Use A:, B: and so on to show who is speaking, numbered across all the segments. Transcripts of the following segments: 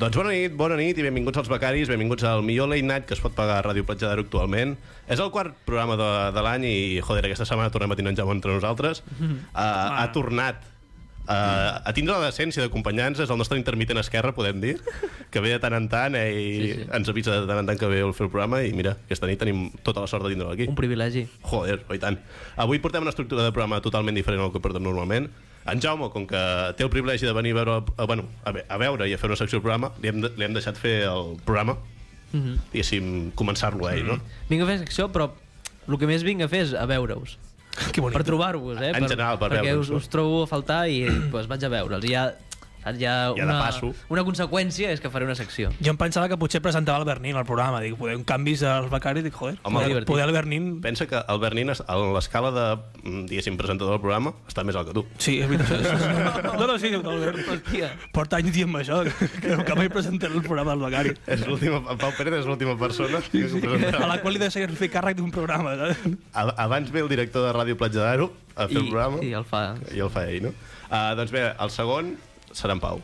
A: Doncs bona nit, bona nit i benvinguts als becaris, benvinguts al millor late night que es pot pagar a Ràdio Platja d'Aro actualment. És el quart programa de, de l'any i, joder, aquesta setmana tornem a tenir en Jaume entre nosaltres. Uh, ha tornat uh, a tindre la decència d'acompanyar-nos, és el nostre intermitent esquerre, podem dir, que ve de tant en tant eh, i sí, sí. ens avisa de tant en tant que ve a fer el programa i mira, aquesta nit tenim tota la sort de tindre'l aquí.
B: Un privilegi.
A: Joder, oi tant. Avui portem una estructura de programa totalment diferent al que portem normalment. En Jaume, com que té el privilegi de venir a veure, a, bueno, a, ve- a veure i a fer una secció del programa, li hem, de- li hem deixat fer el programa, mm
C: Mhm.
A: -hmm. diguéssim, començar-lo a ell, no?
B: Vinc a fer secció, però el que més vinc a fer és a veure-us.
C: Que bonic.
B: Per trobar-vos, eh?
A: En general, per
B: Perquè
A: veure'ns,
B: us,
A: no?
B: us trobo a faltar i pues, vaig a veure'ls. I ja, saps, hi ha
A: de
B: una,
A: passo.
B: una conseqüència és que faré una secció.
C: Jo em pensava que potser presentava el Bernin al programa. Dic, poder un canvis al becari, dic, joder,
A: Home,
C: poder,
B: divertit.
C: poder el Bernin...
A: Pensa que el Bernin, es- a l'escala de, mm, diguéssim, presentador del programa, està més alt que tu.
C: Sí, és veritat. No, no, sí, el Bernin.
B: Hòstia.
C: Porta anys dient això, que, que mai presentaré el programa del becari.
A: És l'última, en Pau Pérez és l'última persona que ho
C: A
A: presentarà.
C: la qual li deixa fer càrrec d'un programa. saps?
A: A- Abans ve el director de Ràdio Platja d'Aro a fer
B: I,
A: el programa
B: I el fa...
A: i el fa ell, no? Uh, doncs bé, el segon serà en Pau.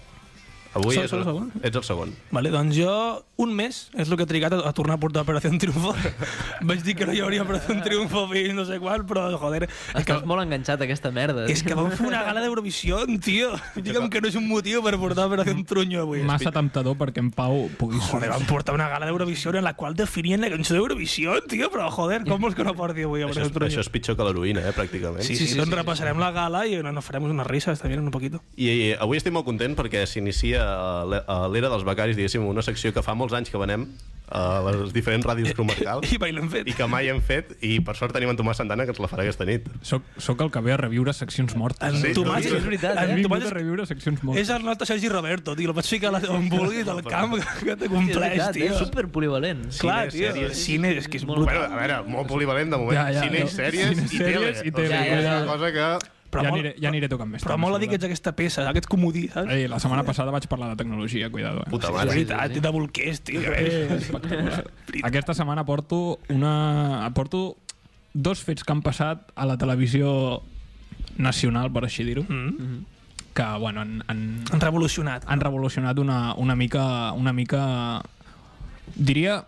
A: Avui
C: Sóc-
A: és,
C: sóc el segon?
A: ets el segon.
C: Vale, doncs jo, un mes, és el que he trigat a, a tornar a portar Operació Triunfo. Vaig dir que no hi hauria Operació Triunfo fins no sé quan, però, joder, és que,
B: Estàs molt enganxat a aquesta merda.
C: és que vam fer una gala d'Eurovisió, tio. Digue'm que no és un motiu per portar Operació Trunyo avui.
D: Massa temptador perquè en Pau pugui
C: Joder,
D: sortir.
C: van portar una gala d'Eurovisió en la qual definien la cançó d'Eurovisió, tio, però joder, com vols que no porti avui?
A: Això
C: Operación
A: és,
C: Truño?
A: això és pitjor que l'heroïna, eh, pràcticament.
C: Sí, sí, sí, doncs repassarem la gala i no, no farem unes risas també un poquito.
A: I eh, avui estic molt content perquè s'inicia eh, l'e- eh, l'era dels becaris, diguéssim, una secció que fa molts anys que venem eh, a les diferents ràdios comarcals
C: I mai l'hem fet.
A: i que mai hem fet i per sort tenim en Tomàs Santana que ens la farà aquesta nit.
D: Soc, soc el que ve a reviure seccions mortes.
C: En
A: Sí,
C: Tomàs,
A: sí, és
B: veritat,
D: He
C: en
D: vingut
C: Tomàs
D: a reviure seccions mortes.
C: és el nostre Sergi Roberto, tio, el pots ficar la- on vulguis del camp que- que
B: Hòstia,
C: te
B: és
C: compleix,
B: veritat, eh?
C: tio.
B: És super polivalent.
C: Clar,
A: Cine,
C: tio,
A: sèries.
C: cine és que és
B: Molt
C: brutal.
A: Bueno, a veure, molt polivalent de moment.
D: Ja, ja,
A: Cine,
D: no.
A: i sèries,
D: Cine,
A: i tele.
D: sèries i
A: O
D: tele,
A: sigui, és
B: cuidado.
A: una cosa que...
C: Però
D: ja,
C: molt-
D: aniré, ja aniré tocant més.
C: Però
D: tard,
C: molt a dir
D: segurament.
C: que ets aquesta peça, aquest comodí, saps?
D: Ei, la setmana passada vaig parlar de tecnologia, cuidado. Eh?
A: Puta
C: És
A: mare.
C: veritat, de bolquers, tio. que bé.
D: Aquesta setmana porto una... Porto dos fets que han passat a la televisió nacional, per així dir-ho,
C: Mm.
D: que, bueno, han, han,
C: Han revolucionat.
D: han revolucionat una, una mica... Una mica... Diria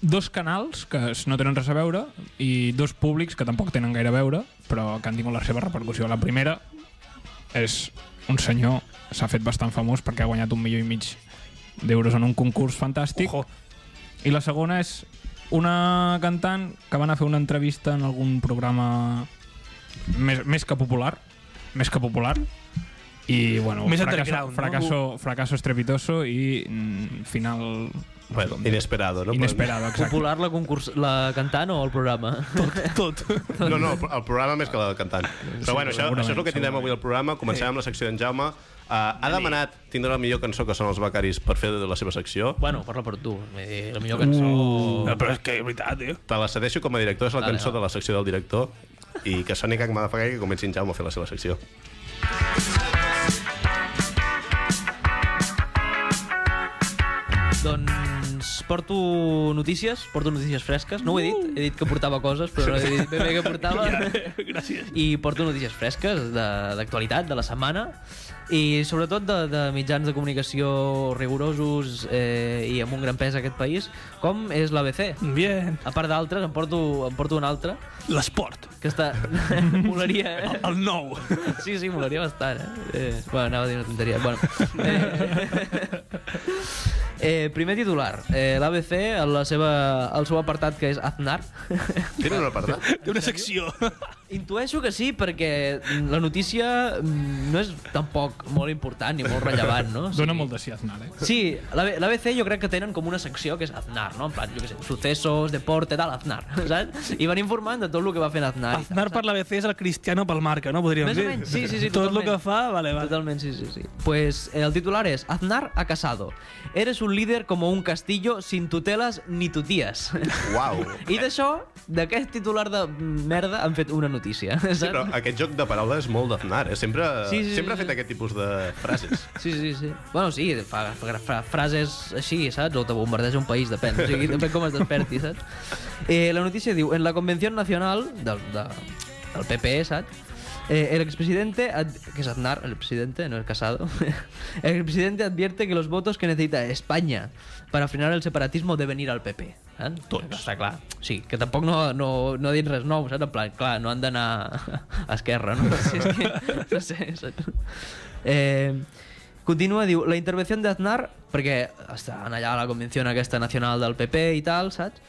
D: dos canals que es- no tenen res a veure i dos públics que tampoc tenen gaire a veure però que han tingut la seva repercussió. La primera és un senyor s'ha fet bastant famós perquè ha guanyat un milió i mig d'euros en un concurs fantàstic
C: Ojo.
D: I la segona és una cantant que van a fer una entrevista en algun programa més, més que popular, més que popular, i bueno,
C: Més
D: fracasso,
C: underground, no?
D: fracasso, fracasso estrepitoso i mm, final
A: Bueno, inesperado, no?
D: inesperado, exacte.
B: Popular la, concurs... la cantant o el programa?
C: Tot.
A: No,
B: Doncs-
A: no, el programa més que la del cantant. Però bueno, això, això és el que tindrem avui al programa. Comencem amb la secció d'en Jaume. Uh, ha demanat tindre la millor cançó que són els becaris per fer de la seva secció.
B: Bueno, parla per tu. Vull dir, La
C: Uh.
B: millor cançó...
C: No, però és que és veritat, tio.
A: Te la cedeixo com a director, és la
B: Vale,
A: cançó
B: va.
A: de la secció del director i que soni Cac Madafagai que comenci en Jaume a fer la seva secció.
B: Doncs porto notícies, porto notícies fresques. No ho he dit, he dit que portava coses, però no he dit ben bé que portava.
C: eh, Gràcies.
B: I porto notícies fresques de- d'actualitat, de, de la setmana, i sobretot de, de mitjans de comunicació rigorosos eh, i amb un gran pes a aquest país, com és l'ABC.
C: Bien.
B: A part d'altres, en porto, en porto un altre,
C: L'esport.
B: que està... Molaria, eh?
C: El nou.
B: Sí, sí, molaria bastant, eh? eh bueno, anava a dir una tonteria. Bueno, eh, eh, primer titular. Eh, L'ABC, en la seva, el seu apartat que és Aznar,
A: Tenen un apartat?
C: Té una secció.
B: intueixo que sí, perquè la notícia mm, no és tampoc molt important ni molt rellevant, no? O sigui,
D: Dóna molt de si Aznar, eh?
B: Sí, l'AB- l'ABC jo crec que tenen com una secció que és Aznar, no? En plan, jo què sé, sucesos, deporte, tal, Aznar, saps? I van informant de tot el que va fent Aznar. i tal,
C: Aznar per l'ABC és el Cristiano pel marca, no? Podríem
B: Més o
C: dir.
B: menys, sí, sí, sí,
C: Tot el
B: totalment.
C: que fa, vale, vale.
B: Totalmente, sí, sí, sí. Pues eh, el titular es Aznar ha casado. Eres un líder como un castillo sin tutelas ni tutías.
A: Uau!
B: I d'això, d'aquest titular de merda, han fet una notícia.
A: Sí, però aquest joc de paraules és molt d'Aznar, eh? Sempre, sí,
B: Sí,
A: sí,
B: sí,
A: sempre ha
B: sí,
A: fet
B: sí.
A: aquest tipus de frases.
B: Sí, sí, sí. Bueno, sí, fa, fa, fa frases així, saps? O te bombardeja un país, depèn. O sigui, depèn com es desperti, saps? Eh, la notícia diu, en la Convenció Nacional del, de, del PP, saps? Eh, el expresidente, ad- que es Aznar, el presidente, no el casado, el expresidente advierte que los votos que necesita España para frenar el separatismo deben ir al PP. Eh?
A: Tots.
B: Està clar. Sí, que tampoc no, no, no ha dit res nou, saps? En plan, clar, no han d'anar a Esquerra, no? Si és que, no sé, saps? Eh, continua, diu, la intervenció d'Aznar, perquè estan allà a la convenció aquesta nacional del PP i tal, saps?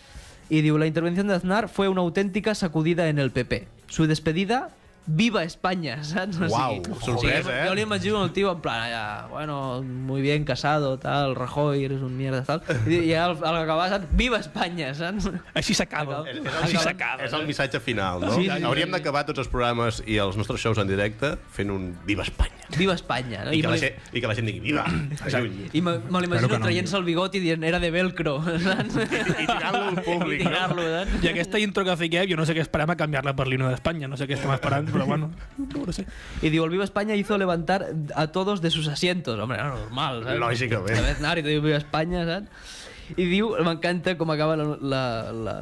B: Y diu, la intervención de Aznar fue una auténtica sacudida en el PP. Su despedida, viva España, ¿sabes?
A: Guau, sorpresa, eh?
B: Yo le imagino al tío en plan, allà, bueno, muy bien casado, tal, Rajoy, eres un mierda, tal. Y, i al, al acabar, saps? Viva España, ¿sabes?
C: Així s'acaba.
B: Acaba.
A: És-
C: Així
A: és el-
C: s'acaba.
A: És el missatge final, no?
B: eh? Sí, sí, sí.
A: Hauríem d'acabar tots els programes i els nostres shows en directe fent un Viva Espanya.
B: Viva España, ¿no?
A: I, que la
B: me-
A: gent, I que la gent digui Viva! Lluny.
B: i me, me l'imagino
D: Claro que no.
B: traient-se el bigot i dient era de velcro, saps?
A: I tirant-lo al públic,
B: I
A: no?
B: tirar-lo, saps?
C: I aquesta intro que fiquem, jo no sé què esperem a canviar-la per l'himne d'Espanya, no sé què estem esperant, però bueno, no ho sé.
B: Y digo, el Viva España hizo levantar a todos de sus asientos. Hombre, era normal, ¿sabes?
A: Lògicament.
B: La vez Nari, te diu Viva España, ¿sabes? Y diu, m'encanta com acaba la, la, la,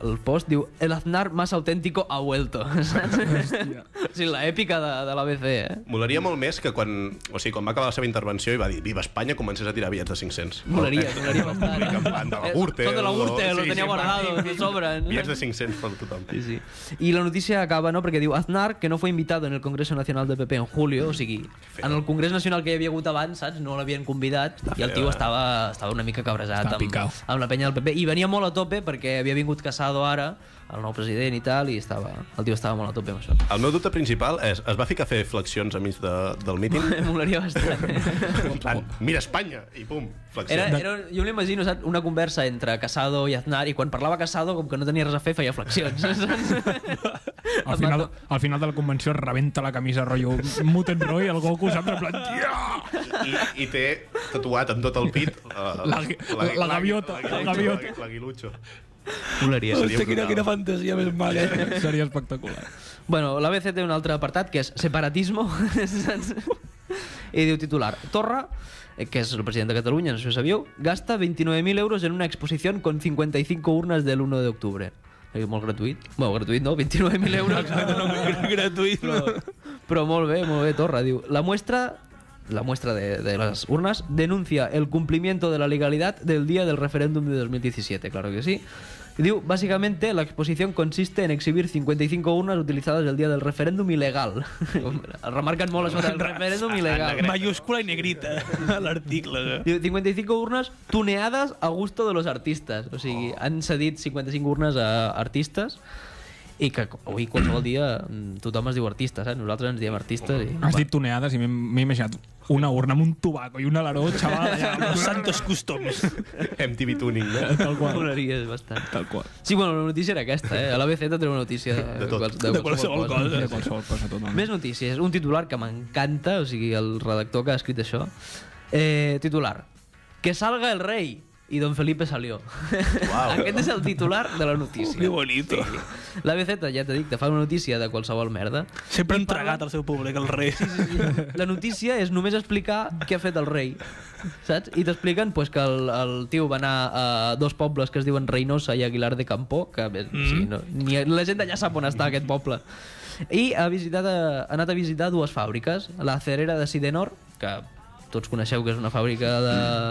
B: el post, diu, el Aznar más auténtico ha vuelto, ¿sabes? sí, la èpica de, de l'ABC, eh?
A: Molaria molt més que quan, o sigui, quan va acabar la seva intervenció i va dir Viva Espanya comencés a tirar bitllets de Eh? 500.
B: Molaria, molaria
A: Públic en plan
B: bastant.
A: de la Gürtel,
B: Tot de la
A: o-
B: Gürtel,
A: sí,
B: lo tenia
A: sí,
B: guardado, de sobra.
A: Bitllets de 500 per tothom.
B: Sí, sí. Y la noticia acaba, ¿no? Porque digo, Aznar, que no fue invitado en el Congreso Nacional del PP en julio, o sigui, en el Congrés Nacional que hi havia hagut abans, saps? No l'havien convidat i
A: feo,
B: el tio
A: eh?
B: estava, estava una mica cabrejat
D: Estava
B: amb,
D: picao.
B: amb la penya del PP i venia molt a tope perquè havia vingut Casado ara, el nou president i tal, i estava, el tio estava molt a tope amb això.
A: El meu dubte principal és, es va ficar a fer flexions a mig de, del míting?
B: Em molaria bastant. eh?
A: en plan, mira Espanya, i pum, flexions.
B: Era, era, jo m'imagino, saps, una conversa entre Casado i Aznar, i quan parlava Casado, com que no tenia res a fer, feia flexions. saps?
D: Al final, al final de la convenció es rebenta la camisa rotllo Muten Roy, el Goku sap en plan "Yeah!"
A: I, I té tatuat amb tot el pit eh,
D: La gui- la gaviota,
A: la-
D: la gaviota.
A: L'aguilutxo.
B: Molaria.
C: Hòstia, quina,
A: brutal.
C: quina fantasia més mala. Eh?
D: seria espectacular
B: Bueno, l'ABC té un altre apartat que és separatismo saps? i diu titular Torra, eh, que és el president de Catalunya, no sé si ho sabíeu, gasta 29.000 euros en una exposició con 55 urnes del 1 d'octubre. Eh, Molt gratuït. Bueno, gratuït no, 29.000 euros.
C: Gratuït. No?
B: Però, però molt bé, molt bé, Torra. Diu, la muestra la muestra de, de las urnas denuncia el cumplimiento de la legalidad del día del referéndum de 2017, claro que sí. Y Diu, básicamente la exposición consiste en exhibir 55 urnas utilizadas el día del referéndum ilegal. Remarcan molt això del referéndum ilegal.
C: Mayúscula i negrita a l'article. eh?
B: Diu, 55 urnes tuneades a gusto de los artistes. O sigui, han cedit 55 urnes a artistes i que avui qualsevol dia mm, tothom es diu artista, saps? Nosaltres ens diem artistes i...
D: has dit toneades i m'he- m'he imaginat una urna amb un tobaco i un alaró xaval allà,
C: Los santos customs.
A: MTV Tuning, no?
D: tal qual,
B: Molaria bastant.
D: tal qual
B: Sí, bueno, la notícia era aquesta, eh? A l'ABC et treu una notícia de,
A: De tot.
B: qual-
C: De qualsevol cosa.
D: de qualsevol cosa totalment
B: Més notícies. Un titular que m'encanta, o sigui, el redactor que ha escrit això. Eh, titular. Que salga el rei. I don Felipe salió.
A: Uau.
B: Aquest és el titular de la notícia.
C: Que bonito.
B: La BZ, ja t'he dit, te fa una notícia de qualsevol merda.
C: Sempre ha entregat al seu públic, el rei.
B: La notícia és només explicar què ha fet el rei, saps? I t'expliquen pues, que el, el tio va anar a dos pobles que es diuen Reynosa i Aguilar de Campó, que bé, mm.
A: Mm-hmm.
B: sí, no, ni, la gent d'allà sap on està aquest poble. I ha, visitat, eh, ha anat a visitar dues fàbriques, la Cerera de Sidenor, que tots coneixeu que és una fàbrica de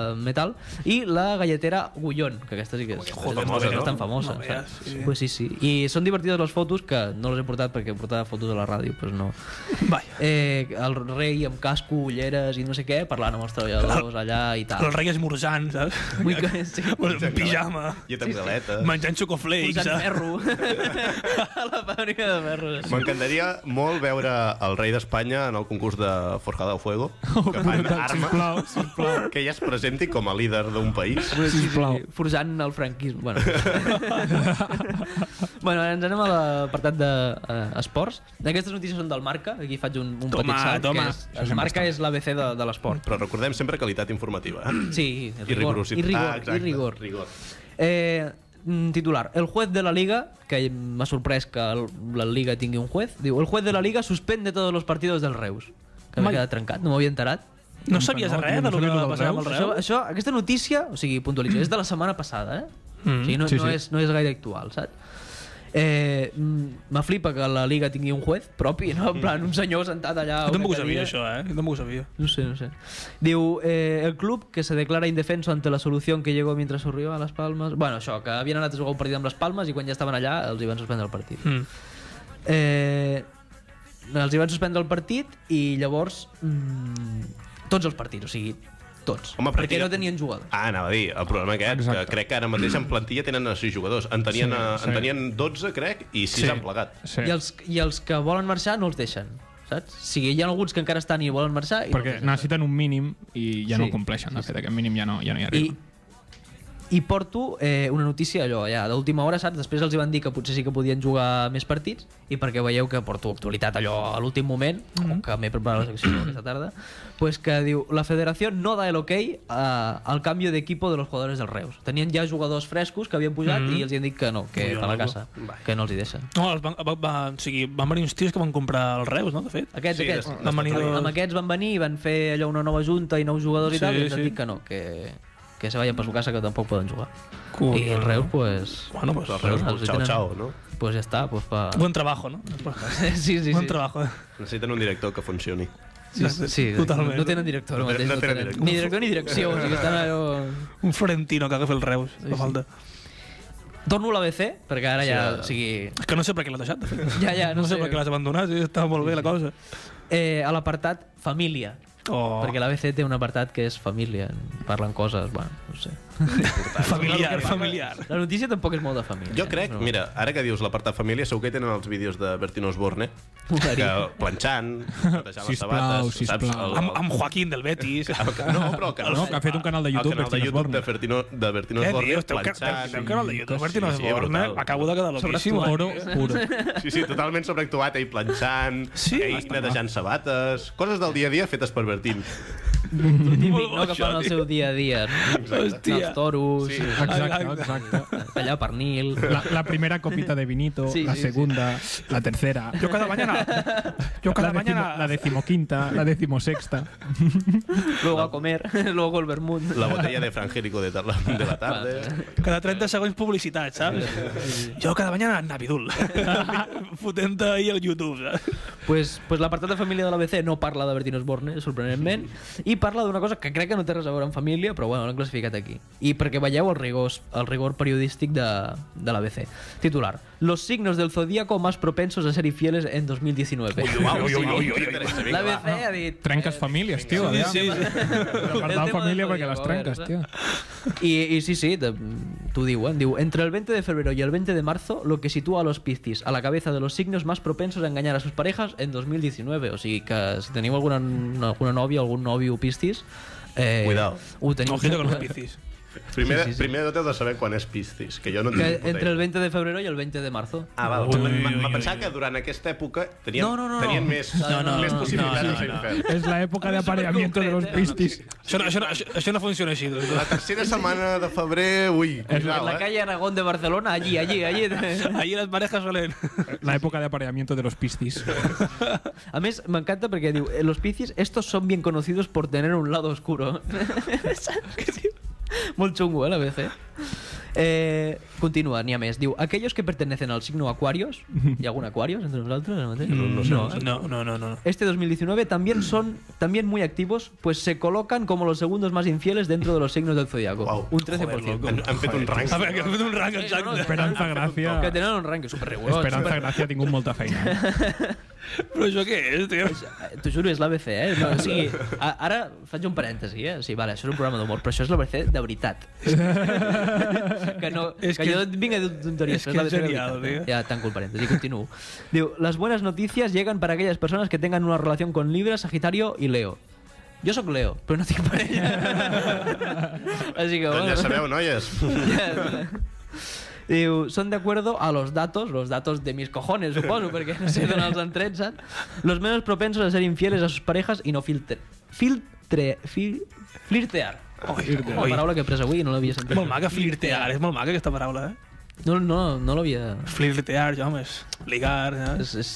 A: Mm.
B: metal, i la galletera Gullón, que aquesta sí que és,
A: Joder,
B: és
A: molt bé, no?
B: bastant famosa.
C: Molt bé,
B: saps?
C: sí.
B: Pues sí, sí. I són divertides les fotos, que no les he portat perquè portava fotos a la ràdio, però no,
C: Vaja.
B: eh, el rei amb casco, ulleres i no sé què, parlant amb els treballadors allà i
C: El
B: tal.
C: rei esmorzant, saps?
B: Vull que... Sí.
C: En pijama.
A: I a Tangdaleta.
C: Menjant xocoflakes,
B: Posant
C: saps?
B: ferro. a la fàbrica de ferro.
A: M'encantaria molt veure el rei d'Espanya en el concurs de Forjada al Fuego, que fan
D: brutal, sisplau,
A: armes, que ella es presenti com a líder d'un país.
B: Sí, sí,
D: Sisplau.
B: sí, forjant el franquisme. Bueno. bueno, ens anem a l'apartat d'esports. eh, Aquestes notícies són del Marca, aquí faig un, un
C: Toma,
B: petit salt.
C: toma.
B: Que és, el Marca és l'ABC de, de l'esport.
A: Però recordem sempre qualitat informativa. eh?
B: Sí,
A: I
B: rigor,
A: rigorositat.
B: i rigor,
A: Ah,
B: i
A: exacte,
B: rigor.
A: rigor.
B: Eh, mm, titular. El juez de la liga, que m'ha sorprès que el- la liga tingui un juez, diu, el juez de la liga suspende tots els partits del Reus. Que m'he
C: Mai.
B: quedat trencat, no m'havia enterat.
C: No sabies
D: No,
C: res
D: no
C: de lo que
D: sabies
C: va
D: del
C: passar amb el
B: Això,
C: rei?
B: això, aquesta notícia, o sigui, puntualitzo, és de la setmana passada, eh? Mm, o sigui, no,
D: sí,
B: no,
D: sí.
B: és, no és gaire actual, saps? Eh, mm, me flipa que la Liga tingui un juez propi, no? En plan, un senyor sentat allà... a
C: Jo
B: una
C: tampoc ho
B: cadira.
C: sabia, això, eh? Jo tampoc ho sabia.
B: No sé, no sé. Diu, eh, el club que se declara indefenso ante la solución que llegó mientras surrió a les Palmes... Bueno, això, que havien anat a jugar un partit amb les Palmes i quan ja estaven allà els hi van suspendre el partit.
C: Mm.
B: Eh, els hi van suspendre el partit i llavors... Mm, tots els partits, o sigui, tots.
A: Home, però
B: perquè
A: tira-
B: no tenien jugador.
A: Ah, anava a dir, el problema aquest, Exacte.
D: Exacte.
A: que crec que ara mateix en plantilla tenen a 6 jugadors. En tenien,
D: Sí,
A: sí,
D: sí.
A: en tenien 12, crec, i 6 sí. han plegat.
D: Sí.
B: I, els, I els que volen marxar no els deixen, saps? O sigui, hi ha alguns que encara estan i volen marxar i
D: Perquè
B: no els
D: necessiten un mínim i ja
B: Sí.
D: no el compleixen. De fet, aquest mínim ja no, ja no hi
B: deixen.
D: arriben.
B: I, I porto eh, una notícia allò, ja, d'última hora, saps? Després els hi van dir que potser sí que podien jugar més partits i perquè veieu que porto actualitat allò a l'últim moment,
C: Mm-hmm.
B: com que m'he preparat la secció aquesta tarda, pues que diu, la federació no da el ok eh, al canvi d'equipo de los jugadores del Reus. Tenien ja jugadors frescos que havien pujat
C: Mm-hmm.
B: i els hi han dit que no, que
C: Ui,
B: per la
C: home.
B: casa, que no els hi deixen.
C: No, els van, va, va, o sigui, van venir uns tios que van comprar els Reus, no, de fet?
B: Aquests,
A: Sí,
B: aquests.
A: des-
C: Van venir
B: amb
C: dos...
B: aquests van venir i van fer allò una nova junta i nous jugadors
C: Sí,
B: i tal, i ens
C: sí.
B: han dit que no, que, que se vayan per su casa, que tampoc poden jugar.
C: Cool.
B: I el Reus, pues...
C: Bueno, pues,
A: Els Reus,
B: Bueno,
A: pues,
B: els hi
A: xau,
B: tenen-
A: xau, no?
B: Pues ja està, pues pa...
C: Buen trabajo, no?
B: sí, sí, sí.
C: Buen trabajo. eh.
A: Necessiten un director que funcioni.
B: sí, sí, sí,
C: Totalment.
B: No tenen director, ara
A: No
B: mateix,
A: tenen- no
B: no
A: tenen
B: tenen.
A: director.
B: Ni director ni direcció, o sigui, estan allò...
C: Un Florentino que agafi el Reus, sí,
B: sí.
C: fa falta.
B: Torno a l'ABC, perquè ara ja,
A: ara.
B: o sigui...
C: És que no sé per què l'ha deixat, de fet.
B: Ja, ja, no,
C: No sé per què l'has abandonat, sí, estava molt bé la cosa.
B: Eh, a l'apartat família,
C: Oh,
B: perquè l'ABC té un apartat que és família, parlen coses, bueno, no sé.
C: familiar, familiar.
B: La notícia tampoc és molt de família.
A: Jo crec, mira, ara que dius l'apartat família, segur que tenen els vídeos de Bertino Osborne, que
B: Molaria.
A: planxant, netejant les
D: Sisplau,
A: sabates, saps?
D: sisplau.
A: El-
C: Amb, amb Joaquín del Betis.
A: el- que- No, però que,
D: No, que ha fet un canal de YouTube,
A: el canal de
D: Bertino
A: YouTube de
D: Osborne.
A: Bertino, de Bertino
C: Què
A: Osborne
C: dius? Té un Eh, ca-
A: planxant.
C: té un canal de YouTube,
A: Sí,
C: Bertino
A: sí,
C: Osborne.
A: brutal.
C: Acabo de quedar loquíssim. eh?
D: Oro puro.
A: Sí, sí, totalment sobreactuat, ell planxant,
C: Sí,
A: ell
C: bastant,
A: netejant sabates, coses del dia a dia fetes per Bertín.
B: típic, no? Que fan el seu dia a dia. No?
C: Hòstia.
B: Els toros, sí.
D: Exacte, exacte.
B: tallar pernil...
D: La, la primera copita de vinito,
B: Sí,
D: la
B: sí, sí.
D: segunda, la tercera,
C: Yo cada mañana. Yo cada
D: la, decimo-
C: mañana.
D: la decimoquinta, la decimosexta.
B: Luego a comer, luego el vermut.
A: La botella de Frangélico de, tarla, de la tarda.
C: Cada 30 segons publicitat, saps? Jo cada mañana Navidul. Fotent ahir al YouTube, saps?
B: Pues, pues l'apartat de família de l'ABC no parla de Bertino Osborne, sorprenentment, i parla d'una cosa que crec que no té res a veure amb família, però bueno, l'han classificat aquí. I perquè veieu el rigor, el rigor periodístic de, de l'ABC. Titular. Los signos del zodíaco más propensos a ser infieles en 2019.
A: Uau, ui, ui, ui, ui.
B: L'ABC ha dit...
D: Trenques famílies, tio.
C: Sí,
D: aviam.
C: sí, sí.
B: tema
D: Apartado
B: del
D: família
B: zodíaco,
D: perquè les
B: a
D: trenques,
B: veure,
D: tio.
B: Y, y sí, sí, te- tú digo, ¿eh? Digo, entre el 20 de febrero y el 20 de marzo, lo que sitúa a los Piscis a la cabeza de los signos más propensos a engañar a sus parejas en 2019. O sigui que si teniu alguna, alguna nòvia, algun nòvio Piscis... Eh,
A: Cuidao.
B: Ho teniu...
C: Ojito con los piscis.
A: Primer,
B: Sí, sí, sí.
A: primer de tot has de saber quan és pistis, que jo no
B: Que
A: tinc ni
B: entre el
A: puta idea.
B: 20 de febrero i el 20 de marzo.
A: Ah, val. Em pensava que durant aquesta època tenien,
B: No, no, no, no.
A: tenien més,
B: No, no,
A: més
B: no,
A: possibilitats
C: no,
A: de ser
C: no, no.
A: infern.
D: És la època de apareamiento de los pistis.
C: Això no, això no, això, això no funciona així. doncs.
A: La tercera setmana de febrer, ui,
B: En
A: cuidao,
B: la
A: eh?
B: calle Aragón de Barcelona, allí, allí, allí.
C: Ahir les marejas solen...
D: La època de apareamiento de los pistis.
B: A més, m'encanta perquè diu eh, Los Piscis, estos son bien conocidos por tener un lado oscuro. Saps què diu? Molt xungo, eh, la BC. Eh, continua, n'hi ha més. Diu, aquellos que pertenecen al signo Aquarios, hi ha algun Aquarios entre nosaltres ara mateix?
C: No,
B: no, eh?
C: no, no, no, no.
B: Este 2019 también son también muy activos, pues se colocan como los segundos más infieles dentro de los signos del zodiaco.
A: Uau,
B: un 13%.
A: Han, han fet un
C: A
A: rànquing.
C: veure, que ha fet un rang
B: no, no,
C: exacte.
D: Esperanza Gracia...
B: que tenen un ranking super rigorós.
D: Esperanza Gracia ha tingut molta feina.
C: Però això què és, tio?
B: T'ho juro, és l'ABC, eh? No, o sigui, a, ara faig un parèntesi, eh? O sigui, vale, això és un programa d'humor, però això és l'ABC de veritat. que no, és
C: És
B: que,
C: que-
B: que jo et vinc a dir tonteries,
C: és
B: però
C: que
B: és l'ABC
C: és
B: de
C: genial,
B: veritat. Eh?
C: tio.
B: Ja tanco el parèntesi, continuo. Diu, les buenas noticias llegan para aquellas personas que tengan una relación con Libra, Sagitario y Leo. Jo sóc Leo, però no tinc parella. Així que,
A: Doncs
B: bueno.
A: ja sabeu, noies.
B: Diu, Eh, son de acuerdo a los datos, los datos de mis cojones, supongo, porque no sé dónde los han trenzado, los menos propensos a ser infieles a sus parejas y no filtre, filtre, fil, flirtear. Una
C: Ui.
B: paraula que he pres avui i no l'havia sentit.
C: Molt maca flirtear, és molt maca aquesta paraula, eh?
B: No, no, no l'havia...
C: Flirtear, jo, home, és ligar, eh?
B: És, és...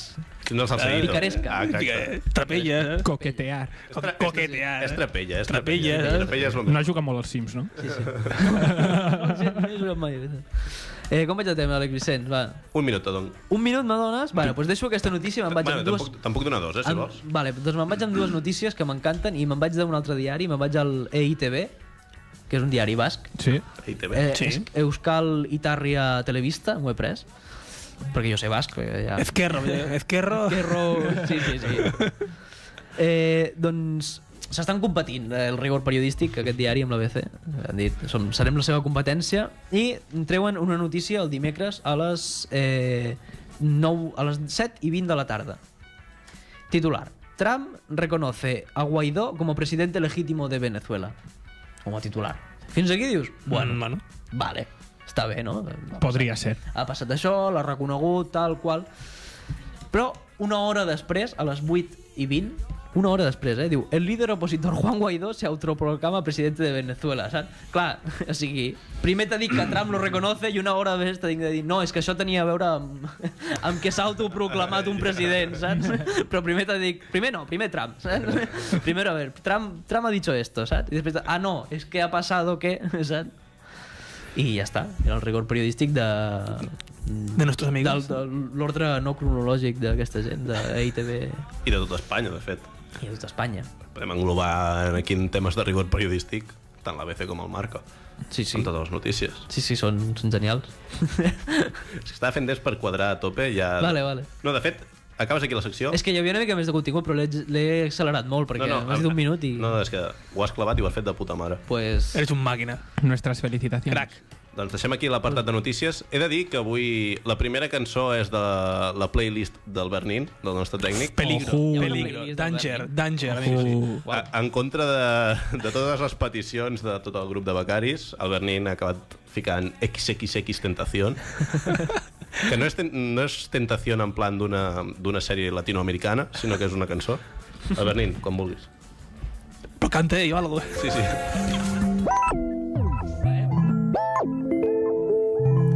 A: No s'ha seguit.
B: Picaresca.
A: Ah, exacte.
C: Digue, Trapella, eh?
D: Coquetear.
C: Co- Coquetear.
A: És
C: eh?
A: trapella, és
C: Trapella,
A: trapella.
C: eh?
A: Trapella és el
D: No ha jugat molt als Sims, no?
B: Sí, sí. No, no he jugat mai. Eh, com vaig de tema, Àlex Vicenç? Va.
A: Un minut, Tadon.
B: Un minut me dones? Bueno, doncs deixo aquesta notícia i me'n vaig
A: Bueno,
B: amb dues...
A: tampoc, tampoc donar dos, eh, si
B: Em-
A: vols.
B: Vale, doncs me'n vaig amb dues notícies que m'encanten i me'n vaig d'un altre diari, me'n vaig al E EITB, que és un diari basc.
D: Sí.
A: Ei, té bé.
B: Eh,
C: Sí.
B: sí. Euskal Itarria Televista, m'ho he pres, perquè jo sé basc, perquè ja...
C: Ezquerro, eh, Ezquerro.
B: Perro... Sí, sí, sí. Eh, doncs s'estan competint eh, el rigor periodístic aquest diari amb l'ABC. Han dit, som, serem la seva competència. I treuen una notícia el dimecres a les, eh, 9, a les 7 i 20 de la tarda. Titular. Trump reconoce a Guaidó como presidente legítimo de Venezuela. Com a titular. Fins aquí dius, bueno,
C: Mm, bueno.
B: vale, està bé, no? Va
D: Podria ser.
B: ha passat això, l'ha reconegut, tal qual. Però una hora després, a les 8 i 20, una hora després, eh, diu el líder opositor Juan Guaidó se autoproclama presidente de Venezuela, saps? Clar, o sigui, primer t'ha dit que Trump lo reconoce i una hora després t'ha dit de dir no, és que això tenia a veure amb, amb que s'ha autoproclamat un president, saps? Però primer t'ha dit, primer no, primer Trump, saps? Primero, a ver, Trump, Trump ha dicho esto, saps? I després, ah, no, és que ha pasado que, saps? I ja està, era el rigor periodístic de...
C: De nuestros amigos.
B: del- de l'ordre no cronològic d'aquesta gent, d'EITB
A: I de tot Espanya, de fet.
B: i els d'Espanya.
A: Podem englobar aquí en temes de rigor periodístic, tant la BC com el Marca,
B: Sí, sí.
A: amb totes les notícies.
B: Sí, sí, són, són genials.
A: És que Estava fent des per quadrar a tope i ja...
B: Vale, vale.
A: No, de fet, acabes aquí la secció...
B: És que hi havia una mica més de contingut, però l'he- l'he accelerat molt, perquè no, no, m'has dit un minut i...
A: No, no, és que ho has clavat i ho has fet de puta mare.
B: Pues...
C: Eres un màquina.
D: Nuestras felicitaciones.
C: Crac.
A: Doncs deixem aquí l'apartat de notícies. He de dir que avui la primera cançó és de la playlist del Bernin, del nostre tècnic.
C: Peligro,
D: Ojo.
C: peligro. Danger, danger.
D: Uh,
A: A, en contra de, de totes les peticions de tot el grup de becaris, el Bernin ha acabat ficant XXX Tentación, que no és, ten, no és tentació en plan d'una d'una sèrie latinoamericana, sinó que és una cançó. El Bernin, com vulguis.
C: Però canta ell o algo.
A: Sí, sí.